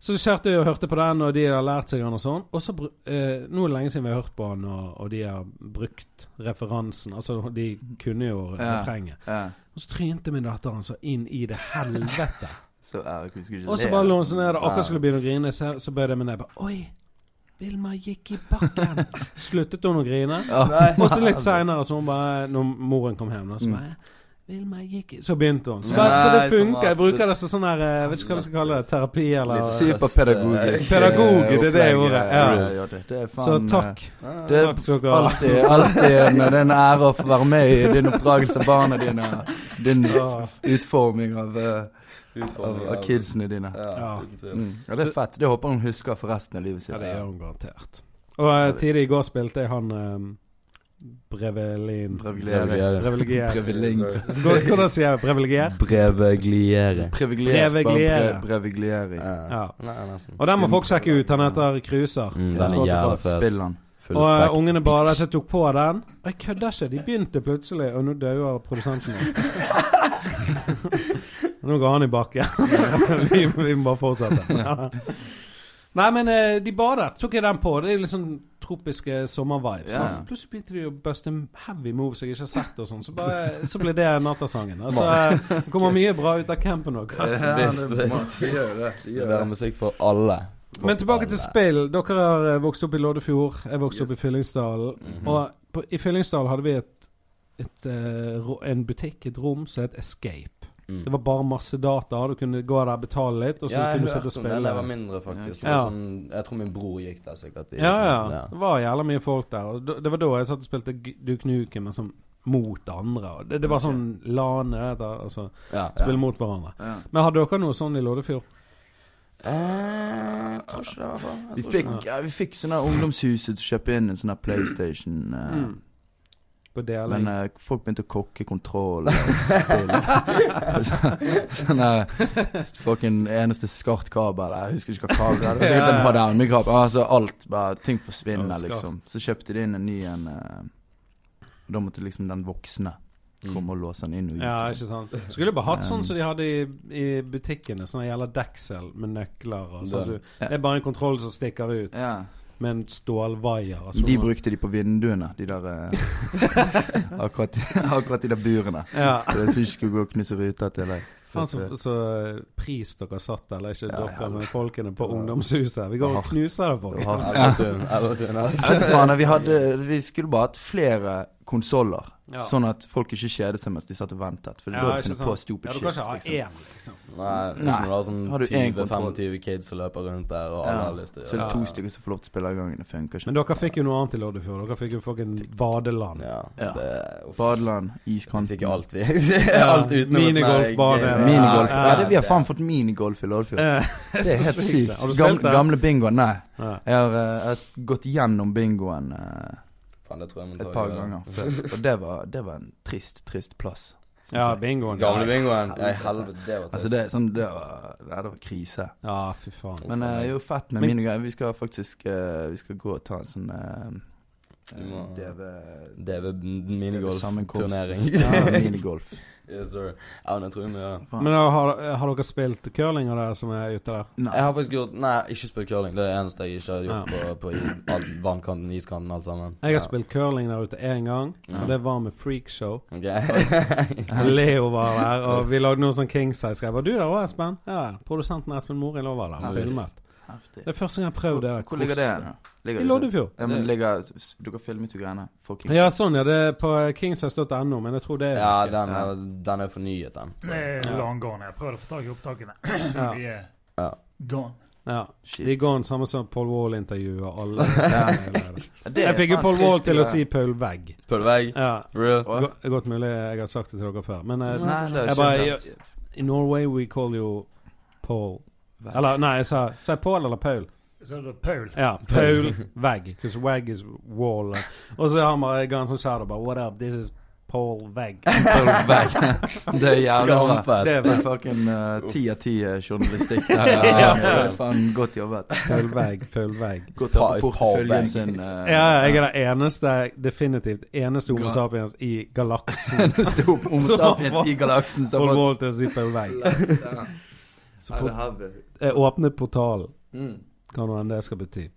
S1: Så kjørte jeg og hørte på den, og de har lært seg den og sånn. Og så bru- eh, Nå er det lenge siden vi har hørt på den, og, og de har brukt referansen. Altså, de kunne jo
S2: Ja.
S1: refrenget.
S2: Ja.
S1: Og så trynte min datter han så inn i det helvete.
S2: Så ja, vi skulle ikke
S1: Og så
S2: le.
S1: bare lå hun sånn ned, og
S2: Ja.
S1: akkurat skulle begynne å grine, så, så bøyde jeg meg ned. bare, Oi! Vilma gikk i bakken. Sluttet hun å grine?
S2: Ja.
S1: Og så litt seinere, så hun bare Når moren kom hjem, da, så bare Vilma gikk i Så begynte hun. Så, bare, så
S3: Nei,
S1: det
S3: så
S1: funker. Jeg
S3: absolutt.
S1: bruker det som sånn her eh, Vet ikke hva vi skal kalle det. Terapi,
S2: Litt
S1: eller
S2: Superpedagogisk.
S1: Pedagog, det er det ordet,
S2: eh, opplegg,
S1: ja.
S2: eh, ja, det- det er faen,
S1: Så
S2: eh,
S1: takk.
S2: Det
S1: Takk skal
S2: er
S1: dere ha.
S2: alltid, alltid en, det er en ære å få være med i din oppdragelse av barna dine. Din
S1: Ja.
S2: utforming av, eh, av,
S3: Utfordring,
S2: av kidsene dine.
S3: Ja,
S1: Ja.
S3: uten tvil.
S2: Mm. Ja, det er fett. Det håper hun husker for resten av livet sitt.
S1: Ja, det gjør hun garantert. Og eh, tidlig i går spilte jeg han eh, Brevelin
S2: Privilegier.
S3: Brevigliere.
S1: Brevelgier.
S2: Priviling.
S1: Hvor- Hvordan sier jeg Brevelgier?
S3: Brevigliere.
S2: Privilegier.
S1: Privilegier.
S2: Bare pre- privilegiering.
S1: Ja.
S3: Nei, nesten.
S1: Og den må folk sjekke ut. Han heter Cruiser.
S3: Mm,
S1: På
S3: den er
S1: Spotify.
S3: jævla fet.
S2: Spill han.
S3: Full
S1: Og eh,
S3: effect.
S1: ungene badet, så jeg tok på den. Og jeg kødder ikke. De begynte plutselig, og nå dauer produsenten min. nå går han i bakken. vi, vi må bare fortsette. Nei, men eh, de badet. Tok jeg den på. Det er jo liksom tropiske sommervibes.
S2: Ja.
S1: sant? Plutselig begynte de å buste heavy moves jeg ikke har sett, og sånn. Så, bare- så ble det nattasangen. Altså, eh, det kommer mye bra ut av campen òg.
S3: Ja, visst,
S2: det er bra.
S3: visst.
S2: De gjør det. de
S3: Det
S2: gjør
S3: der er
S2: det.
S3: musikk for alle. For
S1: Men tilbake til
S3: alle.
S1: spill. Dere har eh, vokst opp i Loddefjord. Jeg vokste opp i
S2: Yes.
S1: Fyllingsdalen.
S3: Mhm.
S1: Og på, i Fyllingsdalen hadde vi et, et, eh, ro- en butikk, et rom, som het Escape.
S3: Mm.
S1: Det var bare masse data. Du kunne gå der og betale litt, og så
S3: ja, jeg
S1: kunne du sitte og
S3: hørte om det da jeg var
S1: spille.
S3: mindre,
S1: Ja.
S3: faktisk. Det var Sånn, jeg tror min bror gikk der sikkert. i-
S1: Ja,
S3: sånn,
S1: ja. Det var jævla mye folk der. Og da- det var da jeg satt og spilte G- Duke Nukem men sånn mot andre. Og det, det var
S2: Ok.
S1: sånn LAN eller, altså,
S3: ja,
S1: Spille
S3: ja.
S1: mot hverandre.
S2: Ja.
S1: Men hadde dere noe sånn i Loddefjord?
S3: Eh, jeg tror ikke det, i hvert fall. Jeg
S2: Vi
S3: tror ikke
S2: fikk, ja, vi fikk sånne ungdomshuset til å kjøpe inn en sånn her PlayStation. eh,
S1: Mm. På deling?
S2: Men eh, folk begynte å kokke kontroll og spill. sånn eh, fucking eneste skart kabel. Jeg husker ikke hva kabel det var. Det var sikkert en HDMI-kabel. Altså alt. Bare ting forsvinner,
S1: Ja, skart.
S2: liksom. Så kjøpte de inn en ny en. eh, og da måtte liksom den voksne
S3: Mm.
S2: komme og låse den inn og ut. liksom.
S1: Ja,
S2: og sånt.
S1: ikke sant. Skulle bare hatt sånn
S2: Um,
S1: som de hadde i, i butikkene. Sånn gjelder deksel med nøkler og sånn.
S3: Det-
S1: Du- Det er bare en kontroll som stikker ut
S2: ja.
S1: med en stålvaier. og
S2: Men De
S1: sånn.
S2: brukte de på vinduene, de der eh, akkurat, akkurat de der burene.
S1: Ja.
S2: Så jeg ikke skulle gå og knuse ruter til deg.
S1: Faen så, så eh, pris dere satt, eller ikke
S2: Ja,
S1: dere,
S2: ja.
S1: men folkene på ungdomshuset. Vi går og
S2: Hardt.
S1: knuser det,
S2: Det
S1: folk.
S2: var hardt.
S3: Elvetun, Elvetun,
S2: Jeg
S3: ass.
S2: vet ikke eh, faen, vi, hadde, vi skulle bare hatt flere konsoller,
S1: Ja.
S2: sånn at folk ikke kjedet seg mens de satt og ventet. For det
S1: Ja,
S2: ja,
S1: ikke
S2: burde finne
S1: sant.
S2: på
S1: Ja,
S2: stupid
S1: du
S2: shit.
S1: kan ikke ha
S2: liksom.
S1: én, liksom.
S3: Nei, hvis
S2: Nei.
S3: du har sånn
S2: Har du en kontroll?
S3: 20-25 kids som løper rundt der, og alle
S2: Ja.
S3: har lyst til
S2: Så
S3: å
S2: er
S3: gjøre
S2: det
S1: Ja,
S2: to
S1: ja.
S2: stykker som får lov til å spille av gangen. Det funker ikke.
S1: Men dere fikk jo noe annet i Loddefjord. Dere fikk jo fucking badeland.
S3: det. Ja,
S2: Ja.
S3: det uff,
S2: Badeland,
S3: Vi
S2: iskant
S3: fikk jo alt, vi. alt utenom en sånn her
S1: Minigolfbane.
S3: game.
S2: Minigolf.
S1: Ja,
S2: Ja, det, vi har faen fått minigolf i Loddefjord.
S1: Eh,
S2: Det er
S1: så sykt,
S2: helt
S1: det.
S2: sykt.
S1: Har du
S2: Gamle,
S1: spilt det?
S2: gamle bingoen. Nei.
S1: Ja.
S2: Jeg har, eh, jeg har gått gjennom bingoen eh,
S3: Faen, det tror jeg må ta
S2: et par
S3: i dag.
S2: ganger før. Og det var, det var en trist, trist plass. synes
S1: Ja,
S2: jeg.
S1: bingoen.
S3: Gamle
S1: Ja,
S3: bingoen. Ja, i helvete, det var
S2: Altså, det, er sånn, det, var, nei, det var krise.
S1: Ja, fy faen.
S2: Men
S3: Uff,
S2: eh,
S3: nei.
S2: jo, fett med
S1: Men-
S2: minigolf. Vi skal faktisk eh, Vi skal gå og ta en sånn eh,
S3: Du
S2: eh,
S3: må
S2: DV
S3: DV minigolf-turnering.
S2: sammenkomst. Ja, minigolf.
S3: yes, sir. Ja, men jeg tror vi gjør det.
S2: Faen.
S1: Men da har, eh, har dere spilt curling av det som er ute der?
S3: Jeg
S2: Nei.
S3: har faktisk gjort Nei, ikke spilt curling. Det er det eneste jeg ikke har gjort på, på i- all, vannkanten, iskanten, alt sammen.
S1: Jeg har
S3: Ja.
S1: spilt curling der ute én gang,
S3: Ja.
S1: og det var med freakshow.
S3: Ok.
S1: Og Leo var der, og vi lagde noe sånn Kingsize-greier. Var du der òg, Espen? Ja, Produsenten Espen Morild òg var der. Han
S2: Ja,
S1: filmet.
S2: Heftig.
S1: Det er første gang jeg har prøvd det. der.
S2: Hvor ligger det? da? Ligger
S1: I
S2: det
S1: Loddefjord.
S2: ja, men ligger, altså, Dere filmet jo greiene. for Kings.
S1: Ja, sånn ja. Det er på kingsize.no, men jeg tror det er
S3: ja, den er, den er fornyet, den.
S4: Det er long gone. Jeg prøvde å få tak i opptakene.
S1: Ja.
S4: De er
S3: Ja.
S4: gone.
S1: ja.
S2: Shit.
S1: De går den samme som Paul Wall-intervjuet og alle.
S2: Det er
S1: Jeg fikk jo
S2: faen
S1: Paul Wall
S2: trist,
S1: til å
S2: det.
S1: si Paul Vegg.
S3: Pølvegg.
S1: Ja.
S3: Real.
S2: Åh.
S1: Go- Godt mulig jeg har sagt det til dere før, men eh,
S2: Nei, det er
S1: jeg bare
S2: ikke
S1: jeg- I Norway we call you Paul.
S2: Vegg.
S1: Eller nei, jeg sa, sa jeg Paul eller Paul?
S4: Så er det Paul.
S1: Ja, Paul Vegg. Because Vegg is wall. Og så har man en gang som shadow bare What up, this is Paul Vegg.
S2: Pølvegg. Det er jævla bra.
S3: Skamfett.
S1: Det
S2: Det er fucking eh, ti av ti eh, journalistikk der.
S3: Ja.
S2: Det er faen godt jobbet.
S1: Paul Vegg, Paul Vegg.
S2: Godt å ha på
S3: Pa- Pavlegg.
S2: porteføljen sin. eh,
S1: Ja, jeg er den eneste, definitivt eneste Homo
S2: Ga-
S1: sapiens i galaksen.
S2: Det sto på Homo
S1: Så-
S2: sapiens i galaksen som
S1: Paul
S2: var
S1: Walter og Zippel Vegg. Så på,
S2: havet.
S1: eh, åpne portalen,
S3: Mm.
S1: hva nå enn det skal bety.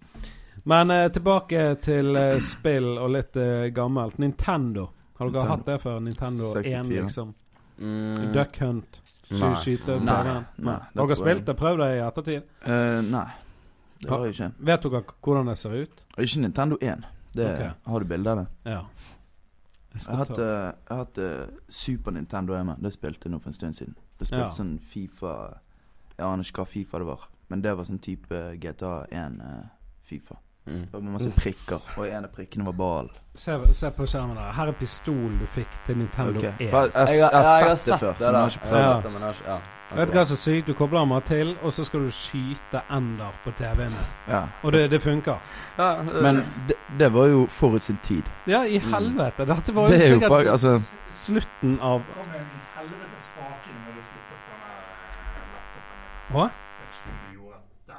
S1: Men eh, tilbake til eh, spill og litt eh, gammelt. Nintendo. Har dere
S2: Nintendo.
S1: hatt det før? Nintendo 1,
S2: 64.
S1: liksom?
S3: Mm.
S1: Duck Hunt?
S3: Nei.
S1: Sky- Skyte?
S2: Nei.
S1: prøve?
S2: Nei, det
S1: Dere har
S2: tror jeg.
S1: spilt det? Prøv det i ettertid.
S2: Eh, nei, det har jeg ikke.
S1: Vet dere k- hvordan det ser ut?
S2: Og Ikke Nintendo 1. Det,
S1: Ok.
S2: Har du bilde av det?
S1: Ja.
S2: Jeg har hatt, eh, jeg har hatt eh, Super Nintendo hjemme. Det spilte jeg nå for en stund siden. Det
S1: Ja.
S2: spilte sånn Fifa Jeg aner ikke hva Fifa det var, men det var sånn type GTA1 eh, Fifa.
S3: Mm.
S2: Det var masse prikker, og en av prikkene var ball.
S1: se, se på skjermen der. Her er pistolen du fikk til Nintendo E.
S2: Ok.
S1: 1.
S2: Hva- Jeg, jeg, har sett det før, men jeg har ikke
S3: Jeg har
S1: Ja.
S2: prøvd.
S3: sett det, men jeg har ikke ja.
S1: Vet du hva som er sykt? Du kobler meg til, og så skal du skyte ender på TV-en.
S2: Ja.
S1: Og det, det funker.
S3: Ja,
S2: Men det, det var jo forut sin tid.
S1: Ja, i helvete. Dette var jo
S2: Mm. Det er jo
S1: sikkert
S2: bare Altså,
S1: slutten av
S4: Det kom en helvete spake når du flyttet på den eh, laptopen.
S1: Hva?
S4: Jeg vet ikke om du gjorde det.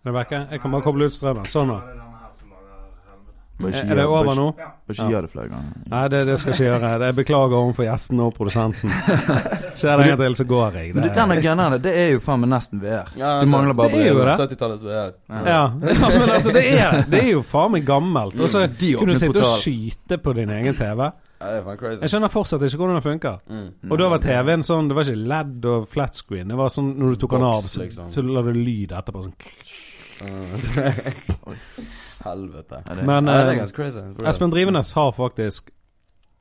S1: Er det vekke? Jeg kan bare koble ut strømmen. Sånn, da.
S4: Det er denne her som lager helvete.
S2: bare ikke
S1: Er det
S2: gjør- bare
S1: over nå?
S4: Ja.
S2: ikke- Bare ikke
S1: Ja.
S2: gjør det flere ganger.
S1: Nei, det, det skal jeg ikke gjøre. Jeg beklager overfor gjestene og produsenten. Skjer det en gang til, så går jeg.
S2: Men
S1: Det-
S2: det, denne gennerne, det er jo faen meg nesten VR.
S3: ja,
S2: Du mangler bare
S1: det er jo
S2: briller.
S1: det.
S3: 70-tallets VR.
S1: Ja, men altså, det er, det er jo faen meg gammelt.
S3: Mm.
S1: Og så
S2: De
S1: kunne
S2: åpner
S1: du sitte og
S2: portal.
S1: skyte på din egen TV.
S3: Ja, det er faen crazy.
S1: Jeg skjønner fortsatt ikke hvordan det funker.
S3: Mm.
S1: Og da var TV-en sånn Det var ikke LED og flat screen. Det var sånn når du tok den
S3: Boks,
S1: av, så,
S3: liksom.
S1: så la du lyd etterpå. Sånn
S3: Mm. Helvete.
S2: Ja, det-
S1: Men
S3: Ja, det er
S1: eh,
S3: ganske crazy. for det er
S1: Espen Drivenes har faktisk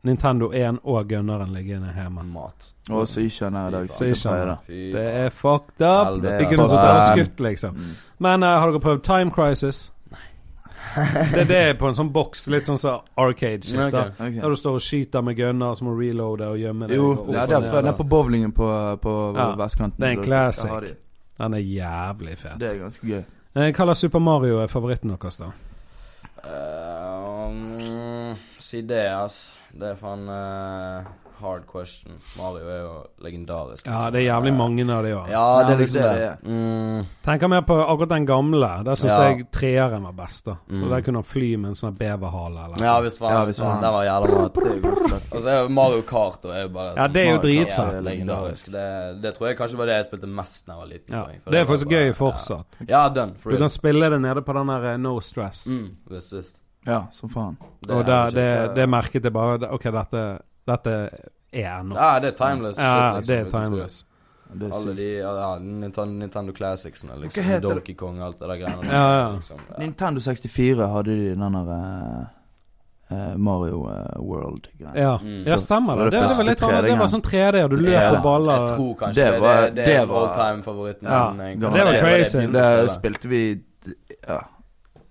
S1: Nintendo 1 og Gunneren liggende hjemme.
S3: Mat.
S2: Og så ikke han her i dag.
S3: Fy
S1: Så
S2: sikkert
S1: ikke han
S2: feier
S1: her.
S2: det.
S3: Fy
S1: Det
S3: faen.
S1: er fucked up!
S3: Helvete.
S1: Vi kunne
S2: Fuck.
S1: sittet og skutt, liksom.
S2: Mm.
S1: Men eh, har dere prøvd Time Crisis? Nei. det, det er på en sånn boks, litt sånn som Arcade shit.
S3: Ok.
S1: da.
S2: Ok.
S1: Der du står og skyter med gunner, og så må du reloade og gjemme deg.
S2: Jo,
S1: og sånn. opp
S2: ja,
S1: og
S2: det er,
S1: ned.
S2: det er på bowlingen på, på
S1: Ja,
S2: vestkanten.
S1: det er en
S2: Da-
S1: classic.
S2: da har de-
S1: Den er jævlig fet.
S2: Det er ganske gøy.
S1: Eh, Hva slags Super Mario er favoritten deres, da?
S3: Eh, um, si det, ass. Det er faen eh, hard question. Mario er jo legendarisk.
S1: Ja,
S3: liksom.
S1: det er jævlig
S3: Eh,
S1: mange av de òg.
S3: Ja, det er
S2: Ja,
S3: liksom
S2: det
S3: det.
S2: er det.
S3: Mm,
S1: Tenker mer på akkurat den gamle. Der syns
S3: Ja.
S1: jeg treeren var best. da
S3: Mm.
S1: Og Der kunne han fly med en sånn beverhale. Eller.
S3: ja, visst faen.
S2: Ja,
S3: Ja,
S2: visst faen.
S3: faen. Den var jævla bra.
S2: Det er jo ganske Altså, lett.
S3: Og så er jo Mario Kart og er jo bare
S1: Ja,
S3: sånn-
S1: det er jo
S2: Mario Kart.
S1: dritfett.
S3: Ja, legendarisk. Det, det tror jeg kanskje var det jeg spilte mest da jeg var liten.
S1: Ja.
S3: tror jeg, for
S1: Det er
S3: var
S1: faktisk
S3: bare-
S1: gøy fortsatt.
S3: Ja, ja done. For
S1: Du
S3: real.
S1: kan spille det nede på den der eh, No Stress.
S3: Mm, visst, visst.
S2: Ja, som faen.
S1: Og
S3: er
S1: der,
S3: jo
S1: det,
S3: kjekt,
S1: det merket jeg bare det- Ok, dette, dette er nå.
S3: Ja, det er timeless. shit,
S1: Ja,
S3: liksom,
S1: det er
S3: uten tvil.
S1: timeless.
S2: Det er
S3: Alle
S2: sykt.
S3: de ja, ja, Nintendo, Nintendo Classicsene,
S2: Hva
S3: liksom.
S2: heter det?
S3: Donkey Kong og alt det der greiene. der,
S1: Ja, ja.
S3: Liksom, ja.
S2: Nintendo 64 hadde de den der eh, eh, Mario eh, World-greia.
S1: Ja,
S3: Mm.
S1: ja stemmer det.
S2: Det var
S1: Det,
S2: det
S1: det var
S2: første
S1: litt annet. Det var
S2: 3D-en.
S1: sånn 3D, og du
S2: Ja,
S1: løp på baller.
S3: Jeg tror kanskje
S2: Det
S3: det,
S2: var-
S3: det, det, er
S2: det var-
S3: all time favoritten
S1: Ja,
S3: min, egentlig.
S2: det var
S1: crazy.
S3: jeg begynte å
S2: Det
S3: spille.
S2: spilte vi Ja.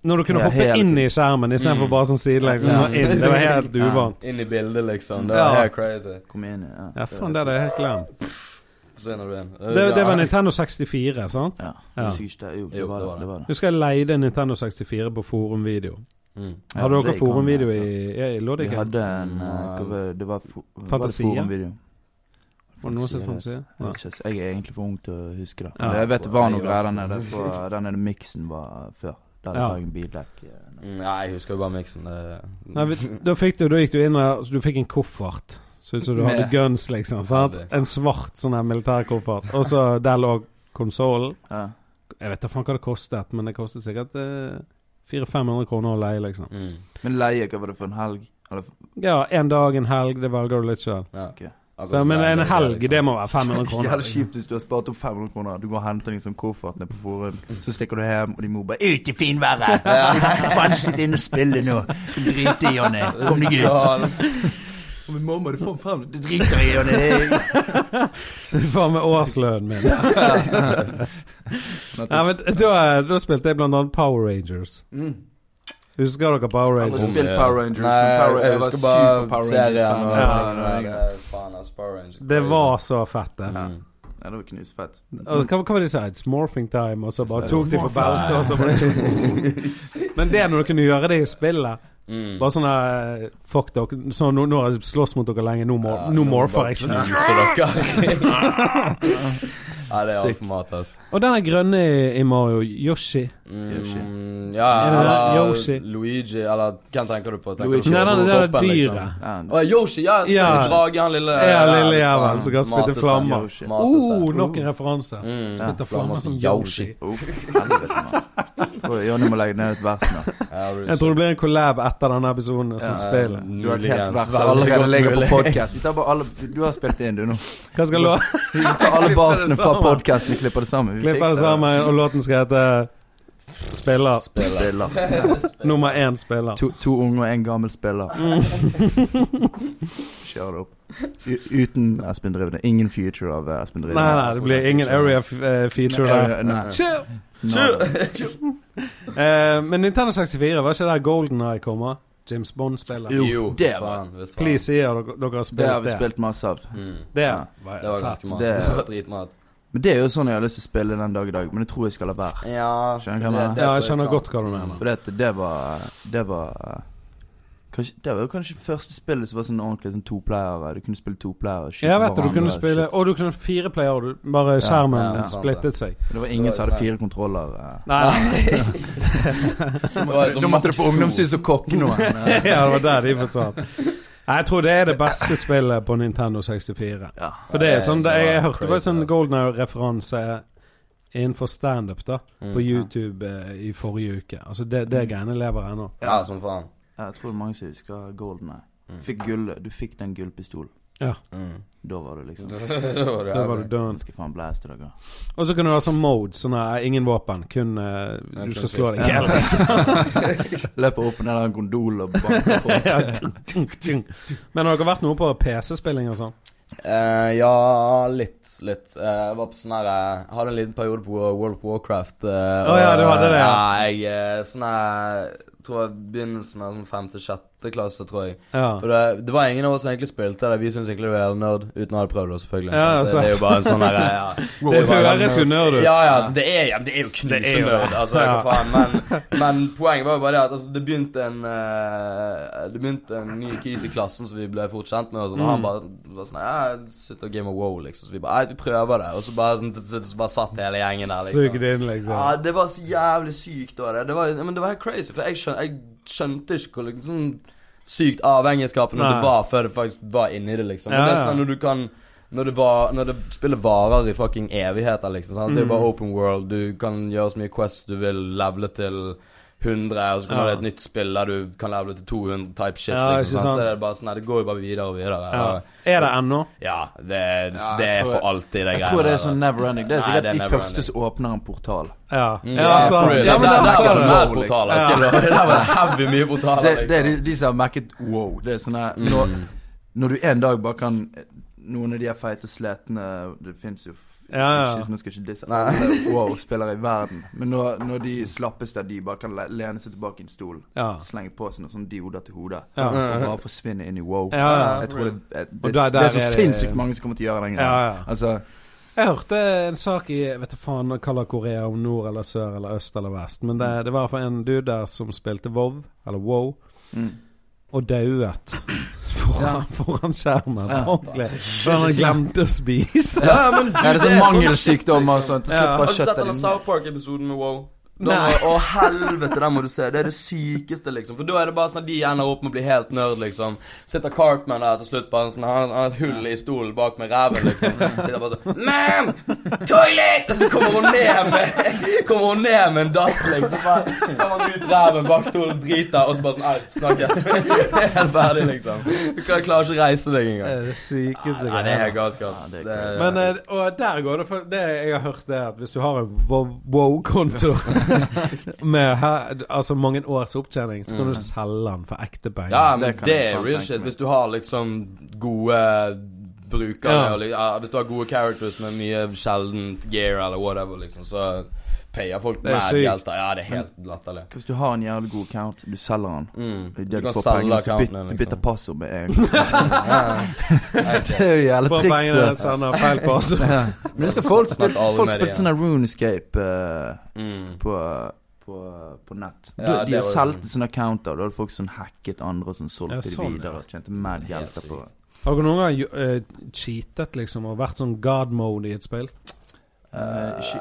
S1: Når du kunne
S2: Ja,
S1: hoppe
S2: hele
S1: inn
S2: tiden.
S1: i skjermen istedenfor
S3: Mm.
S1: bare sånn sidelengs.
S2: Ja.
S1: Sånn inn. Det var helt
S2: Ja.
S1: uvant.
S3: Inn i bildet, liksom. Det
S1: Ja.
S3: var helt crazy.
S2: Kom igjen, ja.
S1: Ja, faen, det hadde jeg helt glemt.
S3: Forsvinner du inn.
S1: Det, det var Nintendo 64, sant?
S2: Ja.
S1: Ja.
S2: Hvis jeg ikke det, jo, det
S3: Jo,
S2: var det. det, var det.
S1: Husker jeg leide en Nintendo 64 på forumvideo.
S3: Mm.
S2: Ja,
S1: Hadde dere
S2: det kan-
S1: forumvideo i, ja, i
S2: Vi
S1: Loddiken?
S2: hadde en eh,
S3: Mm.
S2: hva var det- Det var, fo var det
S1: Fantasia?
S2: forumvideo.
S1: Var det noen som fantes?
S2: Jeg
S1: Ja.
S2: vet ikke, ass. Jeg er egentlig for ung til å huske det.
S1: Ja.
S2: Men jeg vet det var noe greier der nede, for den nede miksen var før. Da hadde
S1: Ja.
S2: jeg en bildekk. eh, nå.
S3: Mm, Nei, jeg husker jo bare miksen. det-
S1: Nei, vi- da, fikk du, da gikk du inn og så du fikk en koffert. Så ut som du hadde
S2: Med-
S1: guns, liksom. Sant?
S3: Hadde-
S1: En svart sånn her militærkoffert. Og så der lå konsollen.
S2: Ja.
S1: Jeg vet da faen hva det kostet, men det kostet sikkert eh, 400-500 kroner å leie, liksom.
S3: Mm,
S2: Men leie, hva var det for en helg? Eller,
S1: Ja, en dag, en helg, det velger du litt sjøl.
S3: ja.
S2: Ok.
S3: Akkurat som
S1: Men
S3: det er
S1: en
S3: det,
S1: helg,
S3: liksom.
S1: det må være 500 kroner.
S2: Jævlig kjipt hvis du har spart opp 500 kroner. Du går og henter liksom koffertene på Forum, så stikker du hjem, og de mor bare 'Ut i finværet!' Du kan faen ikke sitte inne og spille nå. Drit i, Jonny. Kom deg ut. Og min mamma, du får fem Du driter i Jonny. Det er
S1: Det er faen meg årslønnen min. Nei, men da, da spilte jeg blant annet Power Rangers.
S2: Mm.
S1: Husker dere Power
S2: Aldri
S1: Rangers?
S2: spilt Power Rangers,
S3: Mm. Nei,
S2: men Power- jeg
S3: jeg
S2: var
S3: husker
S2: super
S3: bare
S2: Power
S3: serien og
S2: Rangers-fan.
S1: Ja,
S2: ja,
S3: tingene der. Faen, ass, Power Rangers. Mm.
S1: Det var så fett, det.
S3: Ja.
S2: Nei, det var knusfett.
S1: Og Hva, hva var det de sa? It's morphing time, og så bare
S3: It's
S1: tok de på
S2: morphing
S1: beltet, og så bare Men det når du kunne gjøre det i spillet
S3: Mm.
S1: Bare sånn eh, Fuck dere, så nå, nå har jeg slåss mot dere lenge, nå, må,
S3: Ja,
S1: nå
S3: så
S1: morfer
S3: bare
S1: jeg ikke.
S3: knuser dere. Ja, det er
S2: Sick.
S3: altfor mat, altså. ass.
S1: Og den er grønne i, i Mario, Yoshi.
S2: Yoshi.
S3: Mm,
S1: Er
S3: ja,
S1: det
S3: eller
S1: Yoshi?
S3: Luigi, eller hvem tenker du på? Tenker
S2: Luigi.
S3: Du
S1: Nei,
S3: på
S1: nei, det er
S3: soppen,
S1: det
S3: liksom?
S1: dyret.
S2: Ja,
S3: Å, Yoshi, ja!
S1: Ja.
S3: Ja. Drage, han lille
S1: Ja, lille
S3: liksom.
S1: jævelen som kan spytte
S3: Matestein.
S1: flammer.
S2: Yoshi.
S1: Oh,
S3: Matestein.
S1: nok en referanse.
S3: Mm,
S1: Spytter flammer som Yoshi.
S2: Uff, Oh, helvete, mann. Tror Jonny må legge ned et vers snart.
S3: Ja, Yoshi.
S1: Jeg tror det blir en collab etter denne episoden som spill.
S2: Du har et helt vers
S3: Veldig
S2: allerede
S3: godt
S2: ligger på
S3: mulig.
S2: podcast Vi tar bare alle Du har spilt det inn, du, nå.
S1: Hva skal lå?
S2: Vi tar alle barsene fra
S1: sammen.
S2: podkasten og klipper det sammen. Vi
S1: Klipp
S2: fikser
S1: det sammen, og låten skal hete Spiller.
S2: Spiller.
S1: Nummer én spiller.
S2: To, to unge og en gammel spiller.
S1: Mm.
S2: Kjør det opp. U uten Espen Drivne. Ingen future av eh, Espen
S1: Nei,
S2: Drivne.
S1: nei, det blir ingen area f eh, feature der.
S2: Nei, nei.
S1: Chill.
S2: Nei.
S1: Eh, men Nintendo 64, var ikke der Golden Eye kommer? James Bond-spillet.
S2: Jo,
S3: Jo,
S2: det
S3: faen,
S2: var-
S3: visst faen.
S1: Please, sier dere, dere har
S2: Det har
S1: spilt
S2: vi
S1: det.
S2: spilt masse av.
S3: Mm.
S1: Det,
S2: Ja,
S1: var,
S3: Det var ganske mat.
S2: Det-
S3: Det var dritmat.
S2: Men Det er jo sånn jeg har lyst til å spille den dag i dag, men jeg tror jeg skal la være.
S3: Ja,
S2: Skjønner du hva jeg mener?
S3: det- det
S1: Ja, jeg
S3: tror
S1: skjønner
S3: kan.
S1: godt hva du mener.
S2: For det, det var Det var Kanskje, det var jo kanskje første spillet som var sånn ordentlig sånn toplayer. Du kunne spille toplayer. skyte
S1: Ja, jeg vet det. Du
S2: hverandre,
S1: kunne spille
S2: shit.
S1: Og du kunne fire player, og du- bare skjermen
S3: ja, sant det.
S1: splittet seg.
S2: Det var ingen som hadde fire kontroller. eh.
S1: Nei, nei.
S2: Da måtte du på ungdomshus og kokke noen. eh.
S1: ja, det var der de forsvant. Nei, Jeg tror det er det beste spillet på Nintendo 64.
S2: Ja.
S1: For det er sånn, det, jeg,
S3: var
S1: hørte bare
S3: crazy,
S1: sånn
S3: ass.
S1: Golden Eye-referanse innenfor standup da, på
S3: Mm.
S1: YouTube eh, i forrige uke. Altså, det, det greiene lever ennå.
S3: Ja, som faen.
S2: Jeg tror det er mange som husker Golden Eye.
S3: Mm.
S2: Fikk gull, du fikk den gullpistolen.
S3: Mm.
S2: Da var du liksom
S3: Da var du
S1: Da var du
S3: ærlig.
S1: done.
S2: Jeg skal faen blæste deg. da.
S1: Og så kunne du ha sånn mode, sånn her, ingen våpen, kun eh,
S3: Ja, sånn
S1: du
S3: kun
S1: skal slå
S3: sist.
S1: deg i hjel.
S2: Løper opp og ned av en gondol og banker på.
S1: Ja, tung, tung, tung. Men har dere vært noe på PC-spilling og sånn?
S3: Eh, ja, litt. Litt. Eh, jeg var på sånn her eh, Hadde en liten periode på World of Warcraft. eh, og,
S1: ja, du hadde det, ja.
S3: ja. jeg eh, sånn her Tror jeg begynnelsen av sånn femte-sjette klasse, tror jeg.
S1: Ja.
S3: For det, det var ingen av oss som egentlig spilte det. Vi syntes egentlig det var helt nerd, uten å ha prøvd det, selvfølgelig.
S1: Ja,
S3: det,
S1: sant.
S3: det er jo bare en sånn her eh, ja.
S1: Det høres jo nerd ut.
S3: Ja, ja, altså, det er, ja, men det er
S1: Det er
S3: jo
S1: jo
S3: knusenerd,
S1: det.
S3: altså, hva
S1: Ja.
S3: faen. Men, men poenget var jo bare det at altså, det begynte en eh, Det begynte en ny kis i klassen som vi ble fort kjent med, og sånn, og
S1: Mm.
S3: han bare var sånn Ja, jeg sitter og gamer wow, liksom. Så vi bare Nei, vi prøver det. Og så bare, sånn, til slutt så bare satt hele gjengen der, liksom.
S1: Sugd inn, liksom.
S3: Ja, det var så jævlig sykt. Var det. Det, var, ja, men det var helt crazy, for jeg, skjøn, jeg skjønte ikke hvor liksom, sånn sykt avhengighetsskapende
S1: Nei.
S3: det var før det faktisk var inni det, liksom. Men
S1: Ja,
S3: det er
S1: ja.
S3: sånn at når du kan når det, var, når det spillet varer i fucking evigheter, liksom. Sant? Det er jo
S1: Mm.
S3: bare open world. Du kan gjøre så mye Quest du vil, levele til 100, og så kommer
S1: Ja.
S3: det et nytt spill der du kan levele til 200 type shit.
S1: Ja, ikke
S3: liksom, sant?
S1: sant.
S3: Så er det bare sånn, nei, det går jo bare videre og
S1: Ja.
S3: videre. Ja,
S1: Er det ennå?
S3: ja det,
S2: Ja,
S3: det
S2: jeg
S3: er
S2: tror-
S3: for alltid, det
S2: Jeg tror det er sånn
S3: altså.
S2: never ending. Det er
S3: Nei,
S2: sikkert
S3: det er
S2: de
S3: never
S2: første som åpner en portal.
S1: Ja.
S3: Mm,
S1: Ja,
S3: for
S1: sant.
S3: real.
S1: ja, men
S3: der,
S1: sånn
S3: der,
S1: sa
S3: var
S1: du.
S3: det
S2: Wow,
S3: mer portaler. Jeg skal love deg. Der var det heavy mye portaler.
S2: Det, det er de,
S3: liksom.
S2: de som har merket wow. Det er sånn her
S3: Mm.
S2: når, når du en dag bare kan Noen av de her feite sletene Det fins jo f-
S1: Ja, ja.
S2: ikke, Nå skal jeg ikke disse
S3: Nei.
S2: alle wow-spillere i verden. Men når, når de slappeste av de bare kan le- lene seg tilbake i en stol,
S1: Ja.
S2: slenge på seg noen sånne dioder til hodet,
S1: Ja.
S2: og bare forsvinne inn i wow.
S1: Ja, ja.
S2: Jeg tror det, det, eh,
S1: Og
S2: det,
S1: der- der
S2: er så
S1: er det-
S2: sinnssykt mange som kommer til å gjøre den greia.
S1: Ja, ja.
S2: Altså,
S1: Jeg hørte en sak i jeg vet da faen hva kaller Korea, om nord eller sør eller øst eller vest. Men det, det var i hvert fall en dude der som spilte WoW, eller WoW,
S2: mm.
S1: og dauet foran, foran skjermen.
S2: Ja.
S1: Ordentlig. For han glemte å spise.
S3: Ja, men du,
S2: Ja, det er sånn
S3: sånn shit,
S2: mangelsykdommer og sånt. Til
S1: Ja.
S2: slutt
S3: Har
S2: bare
S3: du sett
S2: kjøttet
S3: denne South Park-episoden med Wow? Da må, å, helvete, den må du se. Det er det sykeste, liksom. For da er det bare sånn at de ender opp med å bli helt nerd, liksom. Sitter Cartman der til slutt, bare sånn Han han har et hull i stolen bak med ræven, liksom. Sitter bare sånn Mam! Toilet! Og så kommer hun ned med Kommer hun ned med en dass, liksom. Så bare tar man ut ræven bak stolen, driter, og så bare sånn Nei, snakkes. Det er helt ferdig, liksom. Du kan- klarer ikke å reise deg
S1: Det
S3: engang.
S1: er det sykeste
S3: Nei, det er helt galskap.
S2: Ja, det er
S3: Det er-
S1: Men eh, og der går det for Det jeg har hørt, er at hvis du har en Wo- wow-konto med her, altså mange års opptjening, så kan du selge den for ekte penger.
S3: Ja, men
S2: Mm. Det
S3: det,
S2: kan jeg
S3: er
S2: faen
S3: real
S2: tenke
S3: shit.
S2: meg.
S3: Hvis du har liksom gode brukere,
S1: Ja.
S3: og, li- ja, hvis du har gode characters med mye sjeldent gear eller whatever, liksom, så payer folk
S1: Det er
S3: mad
S1: sykt.
S3: hjelter. Ja, det er helt
S2: Mm.
S3: latterlig.
S2: Hvis du har en jævlig god account, du selger den.
S3: Mm.
S2: Det er
S3: Du
S2: det du
S3: kan
S2: får
S3: selge
S2: pengene, så byt-
S3: accounten din,
S2: bytter
S3: liksom.
S2: passord med en gang.
S3: Ja, ja.
S2: Det er jo jævla
S1: For
S2: triks.
S1: pengene altså.
S2: det.
S1: sender feil passord.
S2: Ja. Men husker folk spilte
S3: Snart alle
S2: folk
S3: med det
S2: spilte sånne runescape eh,
S3: Mm.
S2: på, på, på nett.
S3: Ja,
S2: De-
S3: det
S2: de
S3: var-
S2: solgte sånne accounter. Da hadde folk sånn hacket andre og sånn solgte
S1: Ja, sånn,
S2: de videre. Og tjente mad
S3: Helt
S2: hjelter på det.
S1: Har du noen gang jo- eh, cheatet, liksom, og vært sånn god mode i et spill?
S2: Eh, ikke-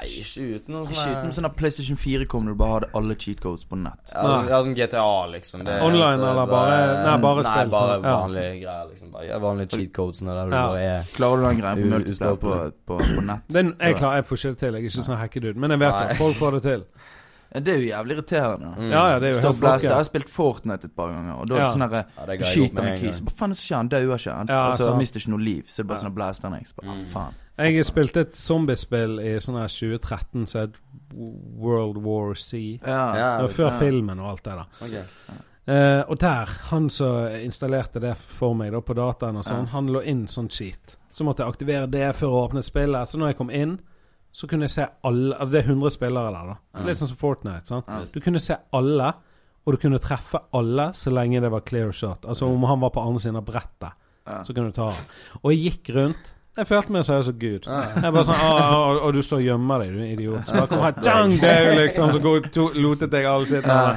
S3: Nei, ikke uten noe
S2: Ikke uten
S3: sånn
S2: sånn at PlayStation 4 kom når du bare hadde alle cheat codes på nett.
S3: ja, sånn, ja, sånn GTA, liksom. Det er
S1: Online,
S3: eneste,
S1: eller bare- nei, bare
S3: Nei,
S1: spill,
S3: bare
S1: sånn. Ja.
S3: vanlige greier, liksom. Bare ja, vanlige cheat codesene der du
S1: Ja.
S3: bare er
S2: Klarer du den greia
S3: U-
S2: på multiplayer på,
S3: ustoppelig.
S2: på, på nett?
S1: Det er, en- jeg, klarer, jeg får ikke det til. Jeg er ikke sånn hackedude. Men jeg vet
S3: Nei.
S1: at folk får det til.
S2: Eh, Det er jo jævlig irriterende.
S3: Mm.
S1: Ja, ja, det er jo
S2: Stop
S1: helt
S2: Blast, Jeg har
S1: blokkert.
S2: spilt Fortnite et par ganger, og da er det
S1: Ja.
S2: sånn herre Du
S3: Ja, det ga jeg opp
S2: skyter
S3: med
S2: med
S3: en gang.
S2: kis. Hva faen er det som skjer? Han dør jo ikke. Han
S1: Ja,
S2: altså,
S1: sant.
S2: mister ikke noe liv. Så det er
S1: Ja.
S2: bare sånn blaster han. Jeg bare, ah, faen.
S1: Jeg spilte et zombiespill i sånn her 2013 som het World War C.
S2: Ja.
S1: Det
S3: Ja,
S1: var
S3: liksom.
S1: før filmen og alt det der.
S3: Ok.
S1: Eh, og der, han som installerte det for meg da på dataen og sånn,
S2: Ja.
S1: han lå inn sånn cheat. Så måtte jeg aktivere det før å åpne spillet. Så når jeg kom inn, så kunne jeg se alle altså Det er 100 spillere der, da.
S3: Ja.
S1: Litt sånn som Fortnite. sant?
S2: Ja.
S1: Du kunne se alle, og du kunne treffe alle så lenge det var clear shot. Altså om han var på andre siden av brettet,
S2: Ja.
S1: så kunne du ta han. Og jeg gikk rundt. Jeg følte meg seriøst som Gud. Jeg bare sånn, «Å, å, å, Og du står og gjemmer deg, du idiot. Så bare kom her, «Dang, dau», liksom, så går- to- lotet jeg all shit.
S2: Ja.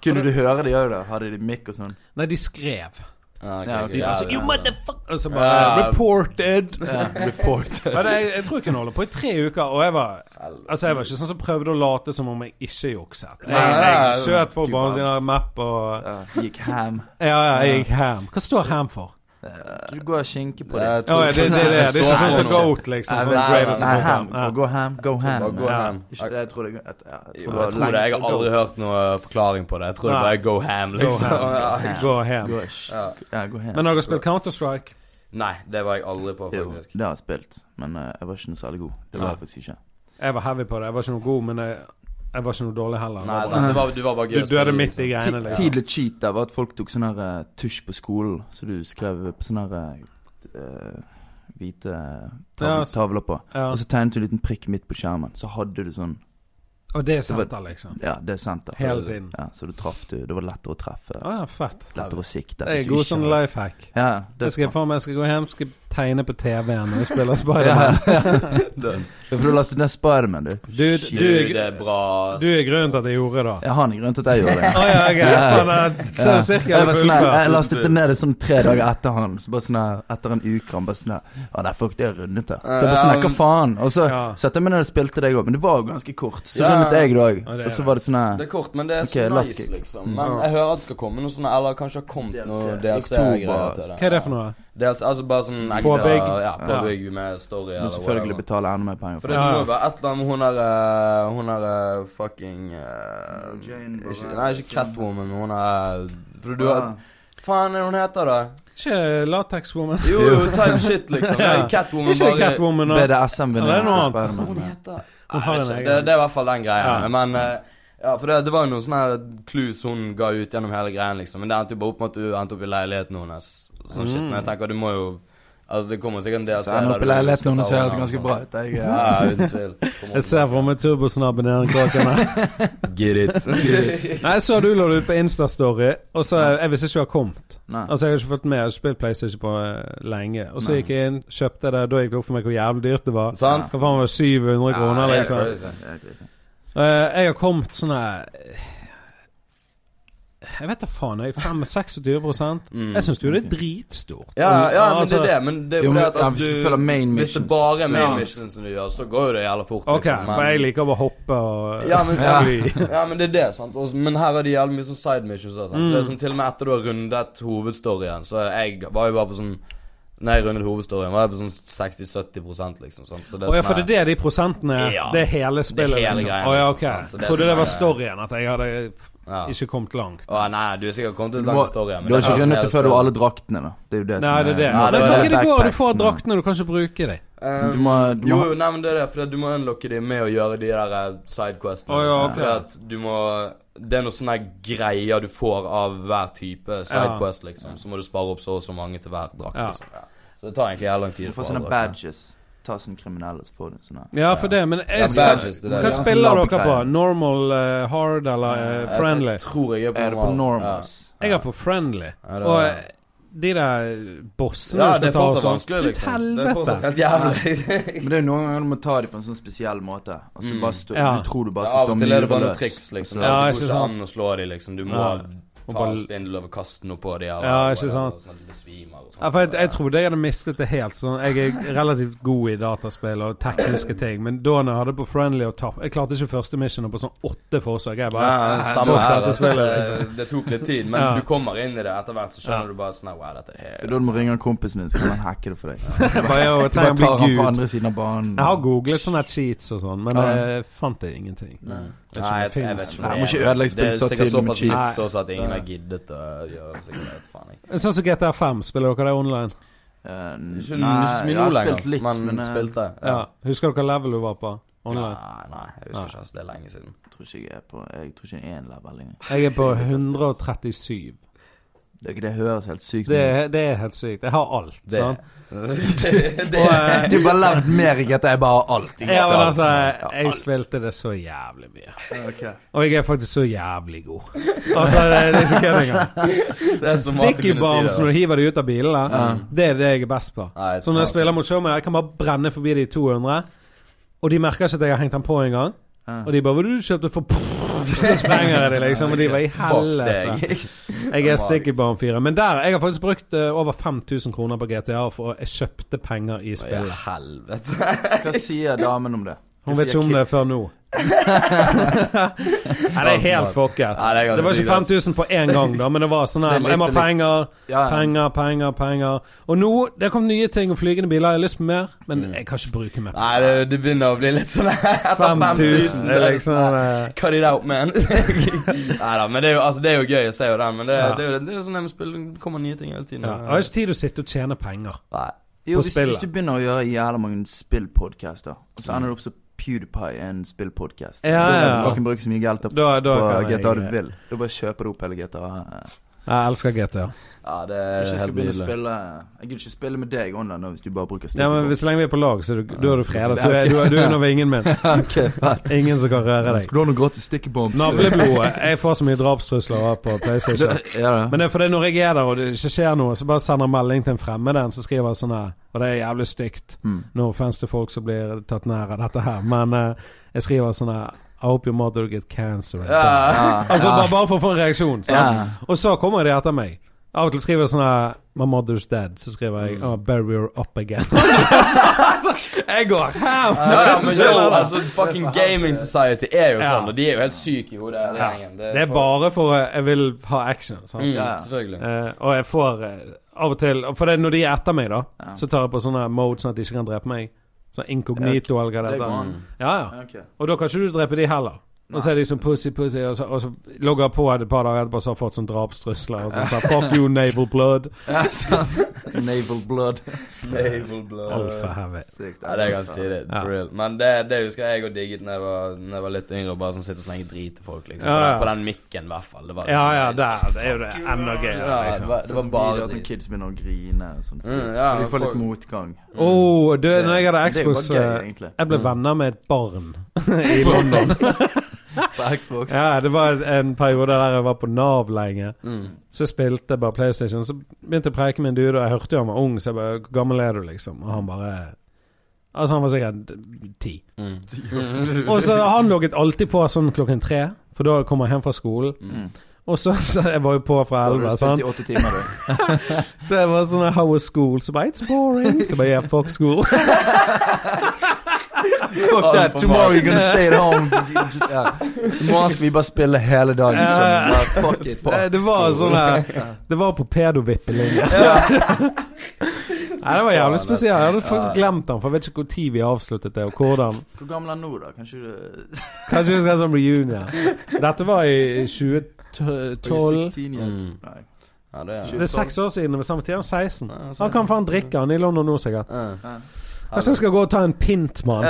S2: Kunne du høre de òg, da? Hadde de mikk og sånn?
S1: Nei, de skrev.
S3: Ja, Ah, ok,
S2: Ja,
S3: ok,
S2: de-
S3: ja,
S1: Altså,
S3: det-
S1: you motherfucker Og så bare
S3: Ja.
S1: Reported
S2: Ja, report.
S1: Men jeg, jeg tror jeg kunne holde på i tre uker Og jeg var Altså jeg var ikke sånn som prøvde å late Som om jeg ikke jokset Jeg,
S3: Nei, nei,
S1: jeg
S3: nei.
S1: søt
S2: Du
S1: folk bare
S2: bare-
S1: sine map og
S2: Ja, gikk ham.
S1: Ja, ja, jeg gikk ham Hva står ham for?
S2: Du går og skinker på det.
S3: Jeg
S1: Ja,
S3: tror-
S1: ja, det, det, det, det, er ikke sånn som
S3: Nei,
S1: goat liksom
S2: Nei,
S1: for
S2: vet
S1: at
S2: du,
S1: Raiders
S2: nei,
S1: går
S2: ham.
S1: frem. Ja.
S2: Gå ham. Go ham.
S3: Bare gå
S2: Ja.
S3: ham.
S2: Ikke det, Jeg tror det at- ja, jeg tror
S3: Jo,
S2: det var
S3: Jeg tror det. Jeg
S2: lenge-
S3: har aldri
S2: go-
S3: hørt noe forklaring på det. Jeg tror det
S1: Nei.
S3: bare er go ham,
S1: Go
S3: liksom.
S1: ham.
S2: Ja.
S1: Gå ham
S2: Gå og sk- Ja, gå ham.
S1: Men har dere spilt Counter-Strike?
S3: Nei, det var jeg aldri på,
S2: Jo,
S3: faktisk.
S2: det har jeg spilt, men eh, jeg var ikke noe særlig god. Det var
S1: Nei.
S2: jeg faktisk ikke.
S1: Jeg var heavy på det Jeg var ikke noe god Men jeg, jeg var ikke noe dårlig heller
S3: Nei,
S1: Jeg var
S3: sant, det var, du var bare
S1: bare-
S3: gøy. å
S1: Du, du er det
S3: spille,
S1: midt i
S3: liksom.
S1: greiene
S2: Ti-
S1: liksom
S2: Tidlig cheat der var at folk tok sånn her eh, tusj på skolen, så du skrev på sånne her eh, hvite
S1: Ja,
S2: tav
S1: så-
S2: tavler på.
S1: ja.
S2: Og så tegnet du en liten prikk midt på skjermen, så hadde du sånn
S1: Og det er
S2: var-
S1: senter liksom
S2: Ja, det er senter.
S1: Hele tiden
S2: Ja, så du traff du. Det var lettere å treffe.
S1: Å ja, fett
S2: Lettere å sikte.
S1: Det
S2: hvis
S1: er
S2: du
S1: god
S2: ikke
S1: sånn
S2: hadde-
S1: lifehack
S2: Ja, det
S1: Jeg skal,
S2: faen
S1: faen meg, jeg skal gå hjem skal tegne på TV-en og spille
S2: ja, ja.
S1: Spiderman.
S2: Ja, For du lastet ned Spiderman, du.
S1: Du, du,
S3: Du,
S1: du,
S3: det er bra. altså.
S1: du er grunnen til at jeg gjorde det.
S2: Ja, han er grunnen til at jeg gjorde
S1: Å
S2: det.
S1: ja, ok. Faen, det er så
S2: Ja.
S1: cirka
S2: Jeg, var sånn, her, jeg
S1: fullført.
S2: lastet det ned sånn tre dager etter han. Så bare sånn her, Etter en uke han bare sånn her Ja, nei, fuck, det er rundet, da. Så jeg bare sånn her, hva faen? Og så
S1: Ja.
S2: satte jeg meg ned og spilte deg òg, men det var jo ganske kort. Så
S3: Ja.
S2: rundet jeg det òg.
S1: Ja, det er
S2: Og så
S1: det.
S2: var det sånn her
S3: Det er kort, men det er
S2: Ok,
S3: så
S2: lucky.
S3: nice, liksom.
S1: Mm.
S3: Men jeg hører at det skal komme noe sånn, eller kanskje har kommet noe
S2: DLC.
S3: DLC-greier til det.
S1: Hva er det for noe?
S3: DLC, altså bare sånn ekstra
S1: Påbygg.
S3: Ja,
S1: Ja.
S3: påbygg med story
S2: Må
S3: eller
S2: selvfølgelig
S3: whatever.
S2: betale enda mer penger
S3: For
S2: for det.
S3: det
S1: Ja, ja.
S3: må jo være et eller annet med hun der eh, Hun der eh, fucking eh,
S2: Jane Ah.
S3: ikke,
S2: Bavarian.
S3: Nei, ikke Catwoman, men hun er For du har
S2: Ja.
S3: Faen er det hun heter, da?
S1: Ikke Latex Woman?
S3: Jo, jo, type shit, liksom.
S1: Ja.
S3: Catwoman
S1: Ikke
S3: bare
S1: Catwoman og Ja,
S2: BDSM-venninne
S1: det er noe
S2: til
S1: annet.
S2: Spiderman.
S3: Hva
S2: ja.
S3: heter det?
S1: Hun
S3: Nei,
S1: har
S3: jeg
S1: en
S3: vet
S1: egen.
S3: ikke. Det, det er i hvert fall den greia.
S1: Ja.
S3: Men eh, ja, for det, det var jo noen sånne her clues hun ga ut gjennom hele greien, liksom. Men det endte jo bare opp med at du endte opp i leiligheten hennes. Sånn shit.
S1: Mm.
S3: Men jeg tenker du må jo Altså, det kommer sikkert en del
S2: Så jeg ender opp i leiligheten hennes og høres ganske bra ut. Jeg,
S3: Ja,
S2: ja.
S3: uten tvil. Kommer
S1: Jeg ser for meg turbosnabben i den kraken der.
S3: opp. Get it.
S1: Nei, jeg så du la det ut på Instastory, og så Jeg visste ikke du har kommet.
S2: Nei.
S1: Altså, jeg har ikke fått med, jeg har ikke spilt PlayStation på eh, lenge. Og så
S2: Nei. Sånn,
S1: gikk jeg inn, kjøpte det, da gikk det opp for meg hvor jævlig dyrt det var.
S3: Sant?
S1: Hva faen var det, 700
S3: Ja,
S1: kroner,
S3: det er
S2: altså.
S1: liksom?
S3: crazy.
S2: Det er crazy.
S1: Eh, jeg har kommet sånn her eh, Jeg vet da faen, jeg. 25-26
S3: Mm.
S1: Jeg syns jo det er
S2: Ok.
S1: dritstort.
S3: Ja, ja, men
S1: Altså,
S3: det er det. Men det er
S2: Jo,
S3: fordi
S2: men,
S3: at
S2: ja,
S3: altså,
S2: hvis du
S3: du-
S2: følger main
S3: Hvis det
S2: missions,
S3: bare er main
S1: ja.
S3: missions som du gjør, så går jo det jævla fort.
S1: Ok,
S3: liksom, men-
S1: for jeg liker bare å hoppe og
S3: Ja, men-
S1: og fly.
S3: Ja, men det er det, sant. Og- men her er det jævlig mye sånn side missions. også, Sant? Så det
S2: Mm.
S3: er sånn, til og med etter du har rundet hovedstoryen, så jeg var jo bare på sånn Når jeg rundet hovedstoryen, var jeg på sånn 60-70 liksom. Sant? Så det er
S1: Å ja,
S3: sånn
S1: for
S3: her-
S1: det er det de prosentene
S3: Ja.
S1: Det er hele spillet?
S3: hele
S1: liksom.
S3: greia,
S1: Å ja,
S3: liksom,
S1: ok.
S3: sant, så det er
S1: Trodde
S3: sånn
S1: det var
S3: her-
S1: storyen, at jeg hadde
S3: ja.
S1: ikke kommet langt.
S3: Å, nei, du er sikkert kommet til
S2: Du
S3: en lang
S2: må-
S3: story. men
S2: Du har
S3: det er
S2: ikke
S3: sånn
S2: rundet
S3: hele
S2: det før du
S3: spillet.
S2: har alle draktene, da. Det er jo
S1: Nei,
S2: det som
S1: det er det.
S3: Ja,
S1: Ja,
S3: det
S1: det
S3: var
S1: er
S3: det.
S1: det går, du får
S2: Backpacks,
S1: draktene, du kan ikke bruke dem.
S3: Eh,
S2: Du må- du må
S3: jo,
S2: ha-
S3: jo, nei, men det er det, for at du må unlocke dem med å gjøre de der eh, sidequestene.
S1: Å, ja,
S3: liksom,
S1: ok.
S3: for at du må Det er noen sånne greier du får av hver type sidequest, liksom. Så må du spare opp så og så mange til hver drakt.
S1: Ja.
S3: Liksom. Ja. Så det tar egentlig jævlig lang tid.
S2: Du får
S3: for
S2: sånne
S3: alle draktene.
S2: badges. Ta sånne kriminelle, så får du sånne
S1: Ja, for det, men
S3: Ja,
S1: jeg,
S3: badges, det der,
S1: Hva
S3: ja.
S1: spiller
S2: Sånn
S1: dere på?
S2: labbegreier.
S1: Normal, eh, hard eller eh,
S3: Jeg-
S1: friendly?
S3: Jeg tror jeg er på
S2: Er det på normals?
S1: Jeg er på friendly.
S3: Ja, det-
S1: Og eh, de der bossene
S3: Ja,
S1: du skal
S3: det er
S1: ta og
S3: fortsatt
S1: sånn
S3: vanskelig, liksom.
S1: Ut
S3: Det er fortsatt
S1: helvete!
S3: helt jævlig.
S2: Men det er jo noen ganger du må ta dem på en sånn spesiell måte. Og så bare stå,
S1: Ja.
S2: Du tror du bare skal
S3: Mm. Av
S2: stå
S3: og til er det bare noen
S2: mureløs.
S3: triks, liksom.
S2: Og
S1: Ja,
S3: det
S1: ikke
S3: går ikke
S1: sant.
S3: an å slå dem, liksom. Du må
S1: Ja. Og
S3: ta
S1: bare-
S3: en steinløv og kaste noe på dem. eller-
S1: Ja, ikke
S3: eller
S1: sant.
S3: Sånn at de besvimer og sånt.
S1: Ja, for jeg, jeg trodde jeg hadde mistet det helt. Sånn, jeg er relativt god i dataspill og tekniske ting, men da når jeg hadde på friendly og tapp Jeg klarte ikke første missionet på sånn åtte forsøk. Jeg bare
S3: Ja,
S1: "Nei,
S3: samme
S1: fuck
S3: her.
S1: dette
S3: Altså,
S1: spillet,
S3: det, det tok litt tid, men
S1: Ja.
S3: du kommer inn i det etter hvert, så
S1: Ja.
S3: skjønner du bare sånn Wow, dette
S2: Da
S3: er
S2: du må ringe en kompis min, så kan han hacke det for deg.
S1: Jeg bare, "Yo, jeg
S2: Du bare
S1: trenger å
S2: tar han
S1: bli
S2: fra
S1: gud.
S2: andre siden av banen. Eh,
S1: Jeg har googlet sånne cheats og sånn, men
S2: Ja.
S1: jeg fant det ingenting.
S3: Nei,
S1: Vet ikke om det
S3: jeg, jeg
S1: finnes.
S3: vet ikke
S2: Nei,
S3: om
S2: må
S3: det
S2: ikke ødelegge
S3: er Det er
S2: spillet så
S3: sikkert
S2: tidlig med
S3: såpass
S2: cheats.
S3: nytt også at ingen
S2: Nei.
S3: har giddet å gjøre det. sikkert, jeg vet faen ikke.
S1: Sånn som GTA5, spiller dere det online?
S2: Eh, n-
S3: Ikke
S2: nei,
S3: så mye
S2: jeg
S3: nå
S2: har
S3: lenger,
S2: spilt litt,
S3: men,
S2: eh,
S3: spilte.
S1: Ja. Husker dere level du var på online?
S3: Nei, nei, jeg husker ikke. Altså, det er lenge siden.
S2: Jeg tror ikke jeg er på Jeg tror ikke jeg er en level lenger.
S1: Jeg er på 137.
S2: Det, er ikke- det høres helt sykt
S1: Det,
S2: ut.
S1: er- det er helt sykt. Jeg har alt.
S3: Det,
S1: sant?
S3: det, det,
S1: Og, eh,
S2: Du har bare levd mer i GTA, jeg bare har alt. i
S1: Ja, men
S2: GTA.
S1: altså,
S2: Ja,
S1: jeg
S2: alt.
S1: spilte det så jævlig mye.
S2: Ok.
S1: Og jeg er faktisk så jævlig god. Altså, det, det er ikke kødd engang.
S3: det er som at du
S1: Sticky
S3: kunne si
S1: bombs
S3: det,
S1: når du
S3: da.
S1: hiver de ut av bilene, det er det jeg er best på.
S3: Nei, jeg
S1: Så når jeg
S3: tror-
S1: spiller mot showman, jeg kan bare brenne forbi de 200, og de merker ikke at jeg har hengt den på engang.
S2: Ja.
S1: Og de bare 'Hva var det du kjøpte for Så sprenger jeg det, liksom. Og de var i
S3: Fuck
S1: helvete.
S3: deg.
S1: Jeg er sticky bomb-fyren. Men der, jeg har faktisk brukt eh, over 5000 kroner på GTA, for jeg kjøpte penger i
S3: Å, Ja,
S1: spillet.
S3: helvete.
S2: Hva sier damen om det?
S1: Hun vet ikke om det før nå. Nei, det er helt fucket.
S3: Nei, det er ganske
S1: Det var
S3: sykt,
S1: ikke 5000 på én gang, da, men det var sånn
S2: Det er
S1: her
S2: litt
S1: Jeg må ha
S2: og litt.
S1: penger,
S2: Ja, ja.
S1: penger, penger, penger. Og nå Det kom nye ting om flygende biler. Jeg har lyst på mer, men jeg kan ikke bruke mer.
S3: Nei, det, det begynner å bli litt sånn Etter
S1: 5000
S3: det
S1: er
S3: er sånn
S1: liksom eh,
S3: Cut it out, man. Nei da, men det er, jo, altså, det er jo gøy å se jo den, men det,
S1: Ja.
S3: det, er jo, det er jo sånn det med spill, det kommer nye ting hele tiden.
S1: ja. Jeg har ikke tid til å sitte og tjene penger.
S3: Nei.
S2: Jo,
S1: På
S2: hvis,
S1: spillet.
S2: hvis du begynner å gjøre jævla mange spillpodcaster, og så ender du opp som PewDiePie i en spillpodcast
S1: Ja, ja, ja.
S2: Da kan du fucking bruke så mye geld på,
S1: Da- da
S2: på
S1: kan jeg- Eh,
S2: GTA du vil. Da bare kjøper du opp hele GTA.
S1: Jeg elsker GTA.
S3: Ja, det
S2: Hvis
S3: er
S2: jeg skal
S3: helt
S2: begynne å
S3: nydelig.
S2: spille Jeg gidder ikke spille med deg online nå, hvis du bare bruker
S1: Ja, men
S2: stikkord.
S1: Så lenge vi er på lag, så er du, da er du fredet. Du er, du er, du er under vingen min. Ingen som kan røre deg.
S2: Skal du ha noe gratis stikkebomb?
S1: Navleblodet. Jeg får så mye drapstrusler på PlayStation.
S2: Ja, det.
S1: Men det er fordi når jeg er der og det ikke skjer noe, så bare sender jeg melding til en fremmed en som skriver sånn her Og det er jævlig stygt.
S2: Mm.
S1: No offense til folk som blir tatt nær av dette her, men eh, jeg skriver sånn her I hope your mother get cancer. and die."
S2: Ah,
S3: Ja.
S1: Altså bare, bare for å få en reaksjon. Sant?
S2: Ja.
S1: Og så kommer de etter meg. Av og til skriver jeg sånn her My mother's dead. Så skriver jeg oh, Bury her up again. altså, jeg går ham!
S3: Ja, ja, men jo, altså, fucking Gaming Society er jo
S1: Ja.
S3: sånn, og de er jo helt syke i hodet, hele gjengen.
S1: Det er bare for eh, Jeg vil ha action. Sant?
S3: Mm,
S2: Ja.
S3: Selvfølgelig.
S1: Eh, og jeg får eh, av og til For det, er når de er etter meg, da, så tar jeg på sånne mode sånn at de ikke kan drepe meg. Sånn inkognito eller hva det
S2: Det går
S3: Mm.
S1: heter.
S2: an.
S1: Ja, ja.
S2: Ok.
S1: Og da kan ikke du drepe de heller. Og så er de sånn pussy, pussy, og så, og så logger jeg på et par dager etterpå så har jeg fått sånn drapstrusler. Og sånn, så, Fuck you, naval blood.
S2: Ja, sant. Naval blood.
S3: Naval blood.
S1: Alfa heavy.
S2: Sykt.
S3: Ja, det er ganske tidlig.
S1: Ja.
S3: For real. Men det, det husker jeg og digget når jeg var, når jeg var litt yngre. og Bare sånn sitte og slenge drit til folk, liksom.
S1: Ja,
S3: På
S1: ja.
S3: den- På den mikken, i hvert fall. Det var
S1: Ja,
S3: liksom-
S1: ja, der. Det er jo det enda gøyere,
S3: Ja, det
S1: liksom.
S3: var, det var
S2: Sånn
S3: bare
S2: videoer som
S3: drit.
S2: kids begynner å grine. Sånn.
S3: Mm, ja,
S2: For de får
S3: folk-
S2: litt motgang.
S1: Oh, du, når jeg hadde
S2: Det er jo
S1: Xbox
S2: bare gøy, Mm.
S1: eh,
S2: egentlig.
S1: Jeg ble venner med et barn i London.
S2: På Xbox.
S1: Ja, det var en periode der jeg var på Nav lenge.
S3: Mm.
S1: Så spilte jeg bare PlayStation. Så begynte jeg å preike med en dude, og jeg hørte jo han var ung, så jeg bare Hvor gammel er du, liksom? Og han bare Altså, han var sikkert ti.
S3: Mm.
S1: Og så han logget alltid på sånn klokken tre, for da kom jeg hjem fra skolen.
S2: Mm.
S1: Og så, så Jeg var jo på fra
S2: Da har du
S1: elleve,
S2: spilt
S1: sant.
S2: i åtte timer, du.
S1: Så jeg var sånn How was school? Så bare It's boring. Så bare Yeah, fuck school.
S2: Fuck
S3: Alt
S2: that,
S3: for
S2: tomorrow
S3: meg.
S2: you're gonna stay at home. Just, ja. I morgen skal vi bare spille hele dagen.
S1: Ja.
S2: skjønner du? Bare Fuck it.
S1: Det, det var sånn her Det var på pedovippelinje. Nei, det var jævlig spesielt. Jeg hadde faktisk glemt den, for jeg vet ikke når vi avsluttet det, og hvordan.
S2: Hvor gammel er han nå, da? Kanskje du
S1: Kanskje vi skal ha sånn reunion. Dette var i 2012.
S2: 16 igjen?
S3: Mm.
S2: Nei.
S3: Ja, det er
S1: Det er seks år siden, men samtidig er han 16.
S3: Ja,
S1: Så han kan faen drikke, han er i London nå sikkert.
S3: Ja.
S2: Ja.
S1: Kanskje han skal gå og ta en pint, mann.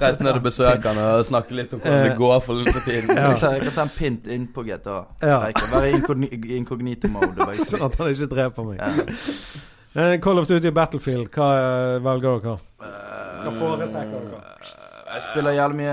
S3: Reise ned og besøke han og snakke litt om hvordan det går for for tiden.
S1: Ja.
S2: Jeg sa, liksom- Jeg kan ta en pint inn på GTA.
S1: Ja.
S2: Jeg kan være i inkogni- inkognito mode. bare ikke-
S1: Sånn at han ikke dreper meg.
S2: Ja.
S1: Eh, Call of Duty og Battlefield, hva eh, velger dere?
S2: Eh,
S1: Hva foretrekker dere?
S2: Jeg spiller jævlig mye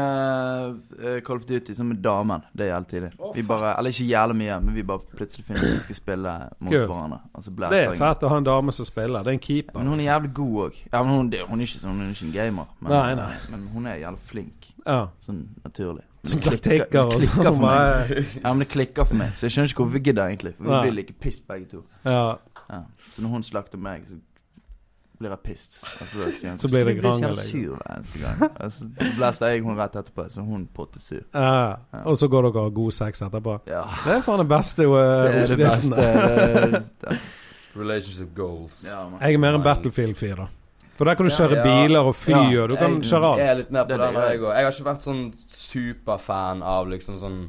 S2: eh, Call of Duty sammen med damen. Det er hele tiden. Vi bare, eller ikke jævlig mye, men vi bare plutselig finner ut at vi skal spille mot
S1: Kul.
S2: hverandre. Og så
S1: Det
S2: blaster
S1: er
S2: jeg.
S1: fett å ha en dame som spiller. Det er en
S2: Ja, Men
S1: keeper.
S2: hun er jævlig god òg. Ja, men hun, det- hun er ikke sånn, hun er ikke en gamer, men, eh,
S1: Nei, nei.
S2: men hun er jævlig flink.
S1: Ja.
S2: Sånn naturlig.
S1: Som
S2: Det klikker-
S1: taktikker og
S2: det
S1: sånn.
S2: klikker for meg.
S1: bare-
S2: Ja, men det klikker for meg, så jeg skjønner ikke hvorfor vi gidder, egentlig. For vi
S1: Nei.
S2: blir like pissed begge to.
S1: Ja.
S2: Ja. Så når hun slakter meg, så blir jeg pissed. Og så, sier hun,
S1: Så blir det
S2: "Skal du bli så
S1: krangel, liksom."
S2: jævlig sur hver eneste gang. Og så blaster jeg hun rett etterpå, så hun pottesur.
S1: ja. Og så går dere og har god sex etterpå.
S2: Ja.
S1: Det er faen den beste eh,
S2: Det er det beste.
S1: oppskriften. da.
S2: det- det-
S3: Relationship goals.
S2: Ja, man.
S1: Jeg er mer en
S3: Nice.
S1: Battlefield-fyr, da. For der kan du
S3: Ja.
S1: kjøre
S3: Ja.
S1: biler og fly, og du kan
S3: jeg
S1: kjøre
S3: er
S1: alt.
S3: litt mer på
S2: Det er
S3: den,
S2: det jeg
S3: jeg òg. Jeg har ikke vært sånn superfan av liksom sånn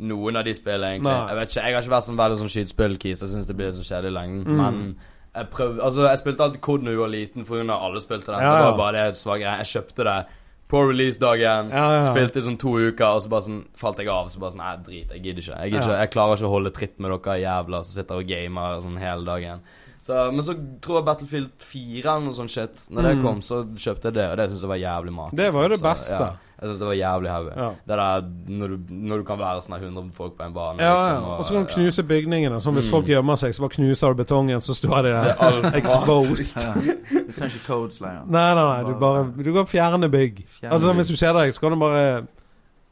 S3: noen av de spillene, egentlig.
S1: Nei.
S3: Jeg vet ikke, jeg har ikke vært sånn veldig sånn skytespillkis. Jeg syns det blir så kjedelig i lengden.
S1: Mm.
S3: Men jeg prøv, altså, jeg spilte alltid COD da jeg var liten, for grunn av alle spilte
S1: Ja,
S3: det. Det
S1: ja.
S3: var bare det svake greia. Jeg kjøpte det på releasedagen.
S1: Ja, ja, ja.
S3: Spilte i sånn to uker, og så bare sånn falt jeg av. Så bare sånn Nei, drit. Jeg gidder ikke. Jeg, gidder
S1: Ja.
S3: ikke. jeg klarer ikke å holde tritt med dere jævla som sitter og gamer sånn hele dagen. Så, men så tror jeg Battlefield 4 eller noe sånt shit Når det
S1: Mm.
S3: kom, så kjøpte jeg det, og det syns jeg var jævlig mat.
S1: Det var jo det
S3: liksom.
S1: beste.
S3: Så, ja, jeg syns det var jævlig heavy.
S1: Ja.
S2: Liksom,
S3: Det der når du, når du kan være sånn her 100 folk på en bane.
S1: Ja, ja.
S3: liksom,
S1: Og så kan du knuse bygningene. Sånn
S2: Mm.
S1: hvis folk gjemmer seg, så bare knuser du betongen, så står de
S3: ja. Det
S1: der.
S3: er alt for
S1: Exposed.
S2: Ja. Du trenger ikke codes lenger.
S1: Nei, nei, nei. Du bare Du kan fjerne bygg.
S2: Fjerne
S1: Altså
S2: bygg.
S1: Hvis du kjeder deg, så kan du bare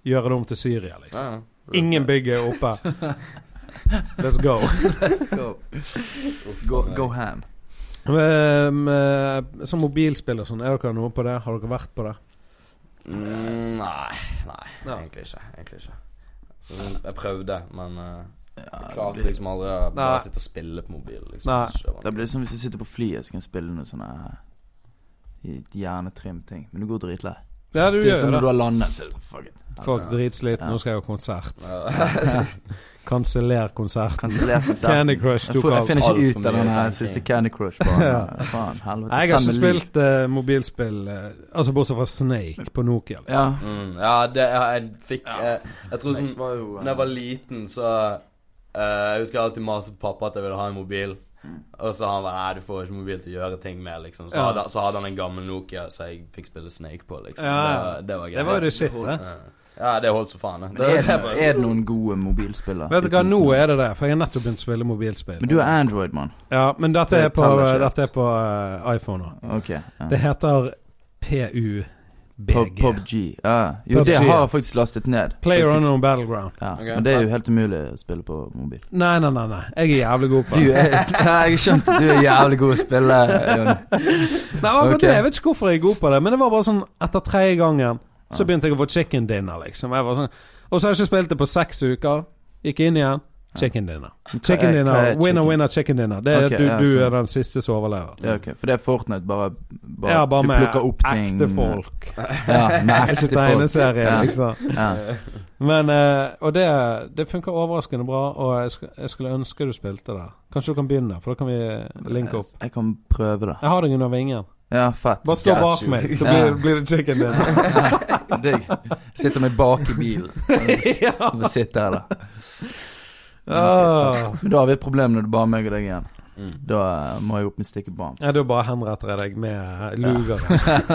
S1: gjøre det om til Syria,
S3: mat. Ja,
S1: liksom.
S3: ja. Mm,
S1: Ingen bygg er oppe. Let's go.
S2: Let's go. Go, go ham.
S1: Um, eh, Som mobilspill og sånn, er dere noe på det? Har dere vært på det?
S3: Mm, nei, nei,
S1: Ja.
S3: egentlig ikke. Egentlig ikke. Sånn, Jeg prøvde, men eh, jeg
S2: Ja,
S3: klarte liksom aldri å
S1: Nei.
S3: bare sitte og spille på mobil. Liksom.
S1: Nei.
S3: Jeg synes ikke det var
S2: Det blir som hvis jeg sitter på flyet Så kan jeg spille noe sånn sånne eh, Hjernetrim ting Men du går dritlei
S1: Ja, du
S2: Det er
S1: gjør
S2: som
S1: jo
S2: når du
S1: det.
S2: har landet Så er det sånn, fuck it
S1: Folk dritslitne, nå skal jeg ha konsert. Kanseller konserten.
S2: Kansellert konserten.
S1: Candy Crush
S2: Jeg får-
S1: tok
S2: Jeg
S1: alt.
S2: finner
S3: Alt
S2: ikke
S3: for
S2: ut av
S3: mye
S2: den her
S3: tenking.
S2: siste Candy Crush banen.
S1: Ja.
S2: Faen, helvete
S1: Jeg har ikke
S2: Send meg lyd.
S1: spilt eh, mobilspill, eh, altså bortsett fra Snake på Nokia. liksom.
S2: Ja
S3: Mm, ja, det, jeg, jeg fikk Jeg, jeg tror sånn
S2: var jo
S3: Da jeg var liten, så eh, Jeg husker jeg alltid maste på pappa at jeg ville ha en mobil.
S2: Mm.
S3: Og så han bare Nei, du får ikke mobil til å gjøre ting med, liksom. Så,
S1: Ja.
S3: hadde, så hadde han en gammel Nokia som jeg fikk spille Snake på, liksom.
S1: Ja.
S3: Det, det var greit.
S1: Det var jo det shit, det.
S3: Ja, det holdt så faen, det.
S2: er,
S3: det
S2: det-
S3: var-
S2: er det noen gode mobilspillere?
S1: Vet du hva,
S2: Uten
S1: nå
S2: sånn-
S1: er det det, for jeg har nettopp begynt å spille mobilspill.
S2: Men du er Android, mann
S1: Ja, men dette
S2: Det
S1: er på,
S2: teller ikke helt.
S1: dette er på eh, iPhone nå.
S2: Ok ja.
S1: Det heter
S2: Pub-
S1: PUBG.
S2: PUBG Ja Jo,
S1: PUBG,
S2: det har
S1: ja.
S2: jeg faktisk lastet ned
S1: Player
S2: Jeg skal-
S1: Unknown Battleground.
S2: Ja,
S3: Ok.
S2: men det er jo helt umulig å spille på mobil
S1: Nei, nei, nei. nei. Jeg er jævlig god på
S2: Du
S1: det.
S2: er, ja, jeg skjønte du er jævlig god å spille. Jonny.
S1: Nei, men akkurat
S2: Ok.
S1: det, Jeg vet ikke hvorfor jeg er god på det, men det var bare sånn etter tredje gangen så
S2: Ja.
S1: begynte jeg å få chicken dinner, liksom. Jeg var sånn, og så har jeg ikke spilt det på seks uker. Gikk inn igjen. Chicken dinner.
S2: Hva
S1: Chicken
S2: er- Eh, hva
S1: dinner,
S2: er
S1: Winner,
S2: chicken?
S1: winner, chicken dinner. Det er
S2: Ok,
S1: at du,
S2: ja,
S1: du
S2: sånn.
S1: er den siste som overlever.
S2: Ja, ok, For det er Fortnite, bare, bare,
S1: Ja, bare
S2: du
S1: med
S2: plukker opp ting.
S1: ekte folk.
S2: Ja, med
S1: Ikke
S2: ekte folk.
S1: tegneserie,
S2: Ja.
S1: liksom.
S2: Ja.
S1: Men, eh, og det, det funker overraskende bra, og jeg, sk jeg skulle ønske du spilte det. Kanskje du kan begynne, for da kan vi linke opp.
S2: Jeg kan prøve det.
S1: Jeg har deg under vingen.
S2: Ja, fett.
S1: Bare stå
S3: Got
S1: bak
S3: you.
S1: meg, så
S2: Ja.
S1: blir, blir det chicken din.
S2: Digg. Sitter meg bak i bilen.
S1: ja.
S2: Vi sitter her, da.
S1: Ah.
S2: Men da har vi et problem når det bare er meg og deg igjen.
S3: Mm.
S2: Da eh, må jeg opp med stikket bams.
S1: Ja, da bare henretter jeg deg med luger.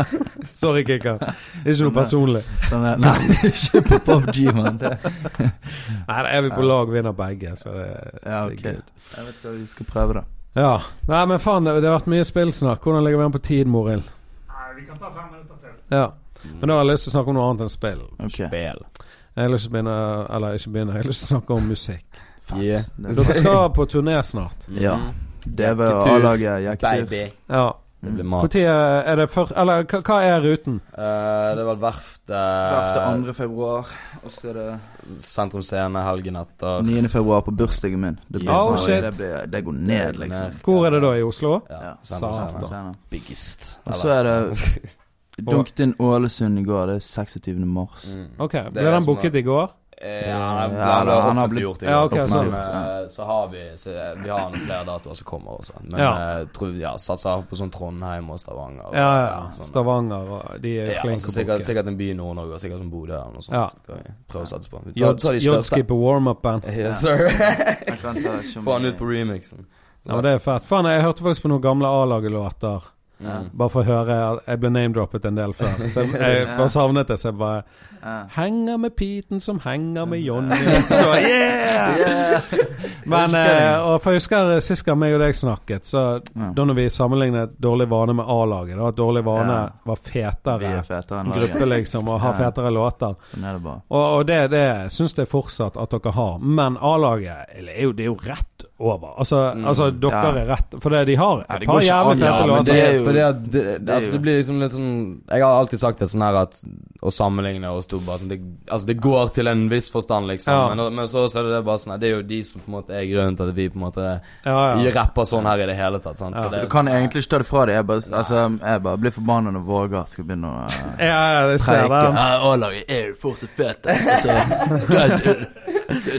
S1: Sorry, Kikkan. Det er ikke noe personlig.
S2: Sånn, eh, nei, ikke på PUBG, mann. Det-
S1: Nei, da er vi på lag, vinner begge, så det,
S2: Ja,
S1: det
S2: ok.
S1: er good.
S2: Jeg vet ikke, vi skal prøve det.
S1: Ja. Nei, men faen, det, det har vært mye spillsnakk. Hvordan ligger vi an på tid, Morild?
S4: Nei, vi kan ta fem minutter til.
S1: Ja. Men da har jeg lyst til å snakke om noe annet enn spill.
S2: Ok.
S3: Spill.
S1: Jeg har lyst til å begynne Eller ikke begynne, jeg har lyst til å snakke om musikk.
S2: Fett.
S3: Yeah.
S1: Dere skal på turné snart.
S2: Ja. Det var
S3: Jekketur,
S2: A-laget. Mm. Jekketur.
S3: Mm. Baby.
S1: Ja.
S3: Det blir
S1: Når
S3: mat.
S1: Mm. er det først Eller hva, hva er ruten?
S3: Eh, det var verft
S2: Verftet
S3: uh,
S2: 2. februar, og så er det
S3: Sentrum Scene helgen etter.
S2: 9. februar på bursdagen min. Det, blir,
S1: Oh,
S2: faen-
S1: shit.
S2: det, blir, det går ned, liksom.
S1: Hvor er det da? I Oslo?
S3: Ja,
S2: Ja.
S3: Sentrum
S1: Satan.
S3: Scene.
S2: Scenen.
S3: Biggest.
S2: Og så er det Dunket inn Ålesund i går. Det er 26. mars.
S3: Mm.
S1: Ok,
S3: er
S1: Ble
S3: det
S1: den
S3: som
S1: booket i går?
S3: Eh, Ja, han ble,
S2: Ja,
S3: han ble
S2: han har
S3: offentliggjort i
S1: Ja,
S3: går.
S1: ok,
S3: Men,
S2: sånn.
S3: eh, så har vi så eh, Vi har noen flere datoer som kommer også. Men
S1: Ja.
S3: eh, tror, ja, satser på sånn Trondheim og Stavanger. og-
S1: Ja, ja.
S3: sånn.
S1: Stavanger og De er
S3: Ja,
S1: flinke
S3: altså,
S1: å
S3: sikkert,
S1: booke.
S3: sikkert en by i Nord-Norge, og sikkert som Bodø eller noe sånt.
S1: Ja.
S3: Kan vi Prøve å satse på. Vi tar, tar de største.
S1: Jodskipper warm-up-band.
S3: Yes, sir.
S2: Jeg kan ta ikke om-
S3: Få han ut på remixen.
S1: Ja, men det er fett. Faen, jeg hørte faktisk på noen gamle A-laget-låter.
S3: Ja.
S1: Bare for å høre Jeg ble name-droppet en del før. Så jeg, jeg bare savnet det, så jeg bare
S2: Ja.
S1: Henger med Piten som henger med Johnny. Så yeah!
S2: Yeah!
S1: Men eh, og for jeg husker eh, sist gang meg og deg snakket, så
S2: Ja.
S1: da når vi sammenlignet dårlig vane med A-laget, da at dårlig vane
S2: Ja.
S1: var
S2: Vi er
S1: fetere
S2: fetere enn laget.
S1: gruppe, liksom, og har
S2: Ja.
S1: fetere låter.
S2: Sånn er det bare.
S1: Og, og det, det syns jeg fortsatt at dere har. Men A-laget eller, er jo, det er jo rett over. Altså, altså dere
S2: Mm. Ja.
S1: er rett For det de har
S2: Ja,
S1: et
S2: det
S1: par
S2: går ikke
S1: jævlig
S2: an,
S1: fete
S2: ja, men
S1: låter.
S3: det er jo
S2: for
S3: fordi
S2: det
S3: at det,
S2: er
S3: altså,
S2: jo-
S3: det blir liksom litt sånn Jeg har alltid sagt det sånn her at å sammenligne oss to bare sånn det, Altså, det går til en viss forstand, liksom.
S1: Ja.
S3: Men, men så, så er det bare sånn her, Det er jo de som på en måte er grunnen til at vi på en måte
S1: ja, ja.
S3: rapper sånn her i det hele tatt. Sant?
S1: Ja,
S3: Så det,
S2: Du kan egentlig ikke ta det fra deg. Jeg bare, altså, jeg bare blir forbanna når Vågar skal begynne å eh,
S1: ja, ja, jeg ser
S2: preike.
S1: den.
S2: Ja, A-laget er jo fortsatt fett. Altså,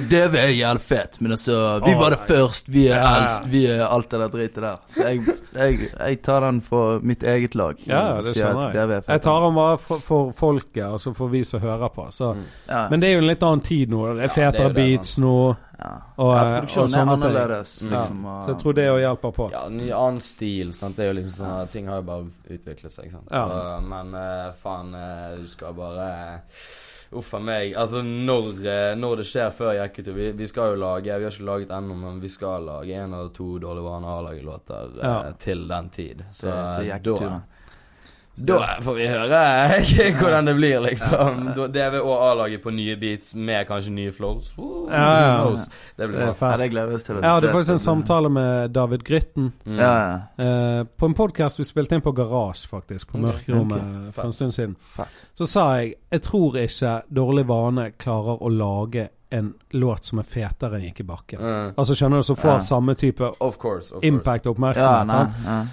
S2: DV er jævlig fett, men altså Vi var det først, vi er eldst, vi er alt det der dritet der. Så jeg, jeg, jeg tar den for mitt eget lag.
S1: Ja, ja, det
S2: Sier at
S1: skjønner
S2: DV
S1: jeg.
S2: er fett.
S1: Jeg tar den bare for, for folket, altså for vi som hører på. Så.
S2: ja.
S1: Men det er jo en litt annen tid nå. Det er
S3: Ja, det er
S1: fetere
S3: jo det,
S1: beats nå.
S2: altså. ja.
S1: Og, eh,
S2: ja,
S1: og
S2: produksjonen er
S1: sånne ting.
S2: annerledes,
S1: Ja.
S2: liksom. og-
S1: Så jeg tror det òg hjelper på.
S3: Ja, ny annen stil. Sant? Det er jo liksom sånn at Ting har jo bare utviklet seg. Sant?
S1: Ja.
S3: Så, men eh, faen, eh, du skal bare eh, Uff a meg. Altså, når, eh, når det skjer før Jekketur vi, vi skal jo lage Vi har ikke laget ennå, men vi skal lage én eller to Dårlig vane A-laget-låter eh,
S1: Ja.
S3: til den tid.
S2: til-
S3: Så
S2: til
S3: eh, da
S2: jekketuren.
S3: da får vi høre eh, hvordan det blir, liksom. Da- DV og A-laget på nye beats med kanskje nye flows. Woo,
S1: Ja, ja.
S3: flows. Det
S1: Det
S3: blir
S1: er
S3: fett.
S2: Ja,
S1: fett.
S2: det gleder vi oss til. å
S1: Jeg hadde faktisk en
S2: se.
S1: samtale med David Grytten
S3: Mm.
S2: Ja, ja.
S1: eh, på en podkast vi spilte inn på Garage, faktisk, på
S3: Ok.
S1: Mørkerommet eh,
S2: Ok.
S1: for en stund siden.
S2: Fett.
S1: Så sa jeg jeg tror ikke Dårlig vane klarer å lage en låt som er fetere enn Gikk i bakken.
S3: Mm.
S1: Altså skjønner du, som får
S2: Ja.
S1: samme type
S3: Of course. Of
S1: impact og
S2: Ja,
S1: oppmerksomhet.
S2: nei.
S1: sant?
S2: Ja.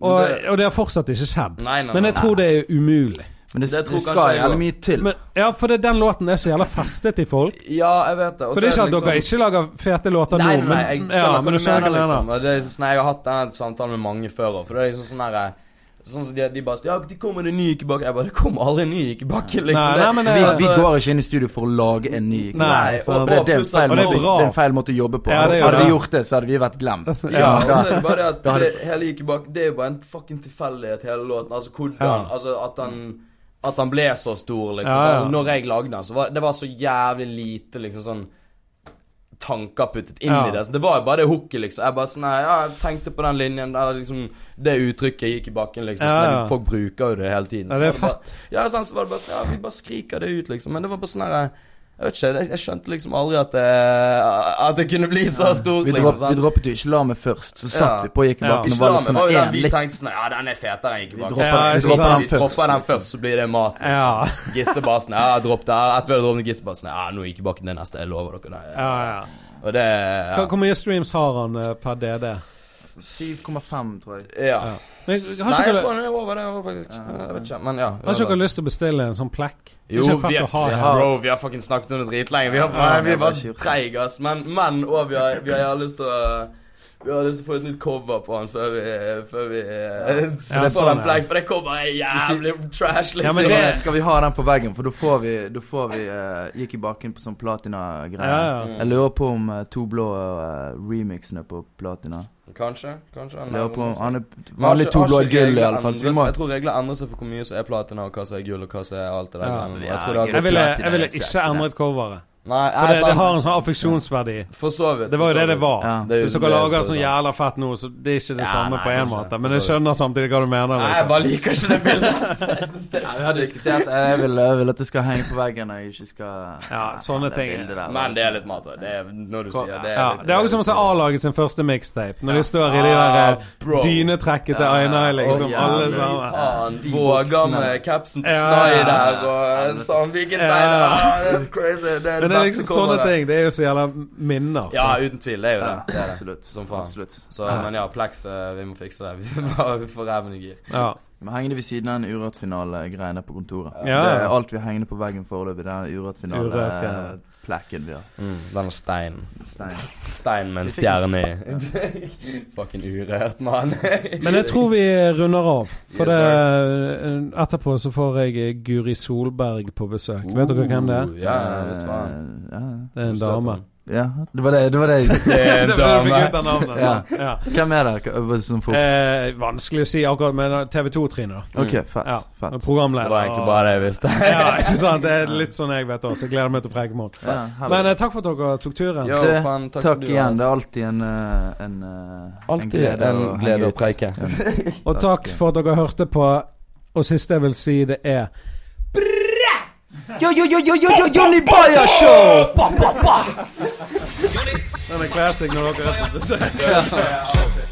S1: og,
S3: Det-
S1: og det har fortsatt ikke skjedd.
S3: Nei, nei,
S1: Men
S3: nei,
S1: jeg tror det er umulig.
S2: Men det,
S3: Det
S2: det,
S3: tror kanskje
S2: skal
S3: jeg
S2: jævlig
S3: også.
S2: mye til.
S1: Men, ja, for det, den låten er så jævla festet i folk.
S3: Ja, jeg vet det.
S1: For
S3: Og så
S1: det er ikke sånn at
S3: liksom-
S1: dere ikke lager fete låter
S3: Nei,
S1: nå,
S3: nei, jeg
S1: men
S3: skjønner
S1: ja,
S3: hva
S1: men
S3: du mener,
S1: jeg
S3: liksom. Og Det er sånn, jeg har hatt denne samtalen med mange før òg, for det er liksom sånn derre Sånn som de, de bare sier, Ja, det kommer en ny ukebakke. Jeg bare Det kommer aldri en ny ukebakke, liksom.
S1: Nei,
S3: Det-
S1: nei, men
S2: Vi,
S1: det-
S2: vi går ikke inn i studio for å lage en
S1: Nei,
S2: ny altså- Nei,
S1: sant.
S2: og det, det, er en
S3: Og
S2: feil
S1: det er
S2: måte, det
S1: bra.
S2: er en feil måte å jobbe på.
S1: Ja, det gjør
S2: Hadde
S1: det.
S2: vi gjort det, så hadde vi vært glemt.
S3: Ja, og
S2: da-
S3: så er det bare det
S2: har
S3: at
S2: du-
S3: det, hele Ukebakke Det er jo bare en fucking tilfeldighet, hele låten. Altså hvordan
S1: Ja.
S3: Altså at han At han ble så stor, liksom.
S1: Ja,
S3: Så,
S1: ja.
S3: altså, når jeg lagde den, så var det var så jævlig lite liksom sånn tanker puttet inn
S1: Ja.
S3: i det. Så det var jo bare det hooket, liksom. Jeg bare sånn nei, ja, jeg tenkte på den linjen eller liksom Det uttrykket gikk i bakken, liksom.
S1: Ja,
S3: sånn at
S1: ja.
S3: folk bruker jo det hele tiden.
S1: Ja,
S3: Så
S1: det er
S3: var bare, ja, sånn, så var det bare sånn Ja, vi bare skriker det ut, liksom. Men det var bare sånn her jeg vet ikke, jeg, jeg skjønte liksom aldri at det, at det kunne bli så stort.
S2: Vi,
S3: liksom,
S2: dropp,
S3: sant?
S2: vi droppet jo ikke la meg først, så satt
S3: Ja.
S2: vi på og gikk i
S1: Ja.
S2: bakken og
S3: Ikke
S2: var
S3: la
S2: liksom
S3: meg- Oi, den-
S2: én
S3: Vi
S2: litt
S3: tenkte sånn Ja, den er fetere enn Ekebakken.
S2: dropper,
S1: Ja,
S2: vi
S1: ikke
S2: dropper
S1: sant.
S2: den
S3: Vi
S2: først.
S3: dropper den først, så blir det mat.
S1: Ja.
S3: Gissebasen. Ja, dropp der. Etter vi hadde droppet Gissebasen. Ja, nå er Ekebakken det neste. Jeg lover dere det.
S1: Ja, ja.
S3: Og det
S1: Hva-
S3: ja.
S1: Hvor mye streams har han eh, per DD?
S2: 7,5, tror jeg.
S3: ja.
S1: Ja. Men, har
S3: Nei,
S1: ikke
S3: jeg
S1: dere-
S3: tror den er over det òg, faktisk. Jeg vet ikke, men ja.
S1: har ikke dere lyst til å bestille en sånn plekk? Det er
S3: Jo,
S1: ikke
S3: vi,
S1: fett
S3: er,
S1: å ha
S3: vi
S1: her.
S3: har, bro, vi har fucking snakket om det dritlenge. Vi, har, nei, vi er bare treige, ass. Men, men og vi har, vi har, lyst til å vi har lyst til å få et nytt cover på han før vi, før vi eh,
S1: Ja,
S3: får
S1: sånn,
S3: den
S1: ja.
S3: plekk, for det coveret er jævlig trash,
S1: Ja,
S3: liksom.
S1: men
S2: Så
S1: det-
S2: eh, skal vi ha den på veggen, for da får vi, da får vi eh, Gikk i bakken på sånn platina-greier.
S3: Mm.
S1: Ja, ja.
S2: Jeg lurer på om eh, To Blå eh, remixene på platina.
S3: Kanskje, kanskje han
S2: Jeg lurer
S3: nærmer
S2: på om
S3: seg.
S2: han er
S3: Men har
S2: vanlig
S3: ikke-
S2: To
S3: har
S2: Blå
S3: ikke
S2: Gull,
S3: regler
S2: iallfall.
S3: endret seg? Jeg tror regler endrer seg for hvor mye som er platina, og hva som er gull, og hva som er alt det der.
S1: Ja.
S3: greiene. Jeg tror det har
S2: Ja,
S1: Jeg
S3: gått
S1: ville,
S2: platina,
S1: jeg ville
S2: sexy,
S1: ikke
S2: det.
S1: endret coveret.
S3: Nei,
S1: For
S3: nei
S1: det, det
S3: sant.
S1: har en sånn affeksjonsverdi.
S3: For så vidt.
S1: Det var
S3: for
S1: jo
S3: så
S1: det det
S3: vidt.
S1: var.
S2: Ja.
S3: Det er jo-
S1: Hvis
S3: det
S1: dere
S3: er jo
S1: lager
S3: så
S1: sånn
S3: sant.
S1: jævla fett nå, så det er ikke det
S3: Ja,
S1: samme
S3: nei,
S1: på en
S3: kanskje
S1: måte.
S3: det.
S1: Men jeg
S3: For så
S1: skjønner samtidig hva du mener.
S3: Nei, jeg
S1: Liksom.
S3: bare liker ikke det bildet. ass. Jeg synes det er
S2: vi har
S3: stygt.
S2: diskutert Jeg vil, eh, jeg vil at det skal henge på veggen, og jeg ikke skal
S1: Ja, sånne
S2: det
S1: ting.
S2: bildet der,
S3: Men det er litt mat. da. Det er, når du
S2: Kom,
S3: sier det er
S1: Ja,
S3: litt-
S1: det er også som å
S3: litt-
S1: se A-laget sin første mixtape. Når de står i de der
S3: Ah,
S1: eh,
S3: bro.
S1: dynetrekkete
S2: Ja,
S1: øynene,
S2: så
S1: liksom.
S2: jævlig.
S1: Alle
S2: Ja.
S1: sammen.
S3: Faen,
S2: De
S3: våger
S2: voksne.
S3: med capsen på
S1: Ja,
S3: snai
S1: ja,
S2: ja.
S3: der og en sånn Sandviken
S1: Ja.
S3: tegn. Ah, Det er crazy. Det er
S1: Men det er liksom
S3: beste
S1: sånne
S3: coveret.
S1: ting. Det er jo så jævla minner.
S3: Ja, uten tvil. Det er jo
S2: Ja,
S3: det. det, er det.
S2: absolutt.
S3: Som faen.
S2: Absolutt.
S3: Så,
S1: Ah.
S3: men ja, Plex, eh, vi må fikse det. Vi må få ræven i gir.
S1: Ja.
S2: Vi henger det ved siden av en Urørt-finale-greiene på kontoret.
S1: Ja.
S2: Det er alt vi henger på veggen foreløpig. Det er
S1: Urørt-greie.
S2: Urørt-finale-plekken vi har.
S1: Mm,
S3: Den er stein.
S2: Stein.
S3: Stein med en
S2: Vi fikk en
S3: stjerne i. Fucking urørt, mann.
S1: Men jeg tror vi eh, runder av. For
S3: Yes,
S1: det, eh, etterpå så får jeg eh, Guri Solberg på besøk. Vet dere hvem det er?
S3: Ja, visst faen.
S2: Eh, ja.
S1: Det er en dame.
S2: ja, det var det. det, var det.
S3: Det er en
S1: Det var det du fikk ut
S3: dame.
S1: av navnet.
S2: Ja.
S1: Ja.
S2: Hvem er det? Hva- hva er det som får
S1: Eh, vanskelig å si akkurat, men eh, TV 2-Trine, da.
S2: OK, fett.
S1: Ja.
S2: fett.
S1: Programleder.
S3: Det var egentlig bare det jeg visste.
S1: ja, ikke sant? Det er litt sånn jeg vet også. Jeg gleder meg til Pregemorgen.
S2: Ja, herlig.
S1: Men eh, takk for at dere tok turen.
S3: Jo,
S2: Det-
S3: faen, takk,
S2: Takk
S3: skal du ha,
S2: igjen.
S3: ass.
S2: Det er alltid en, eh, en, eh,
S3: Alltid en
S2: å henge
S3: glede å
S2: ut.
S3: preike.
S1: Og takk for at dere hørte på. Og siste jeg vil si, det er
S2: Yo, yo, yo, yo, yo, yo, Johnny Bayer Show!
S1: Den er classic når dere er på besøk.
S3: Ja.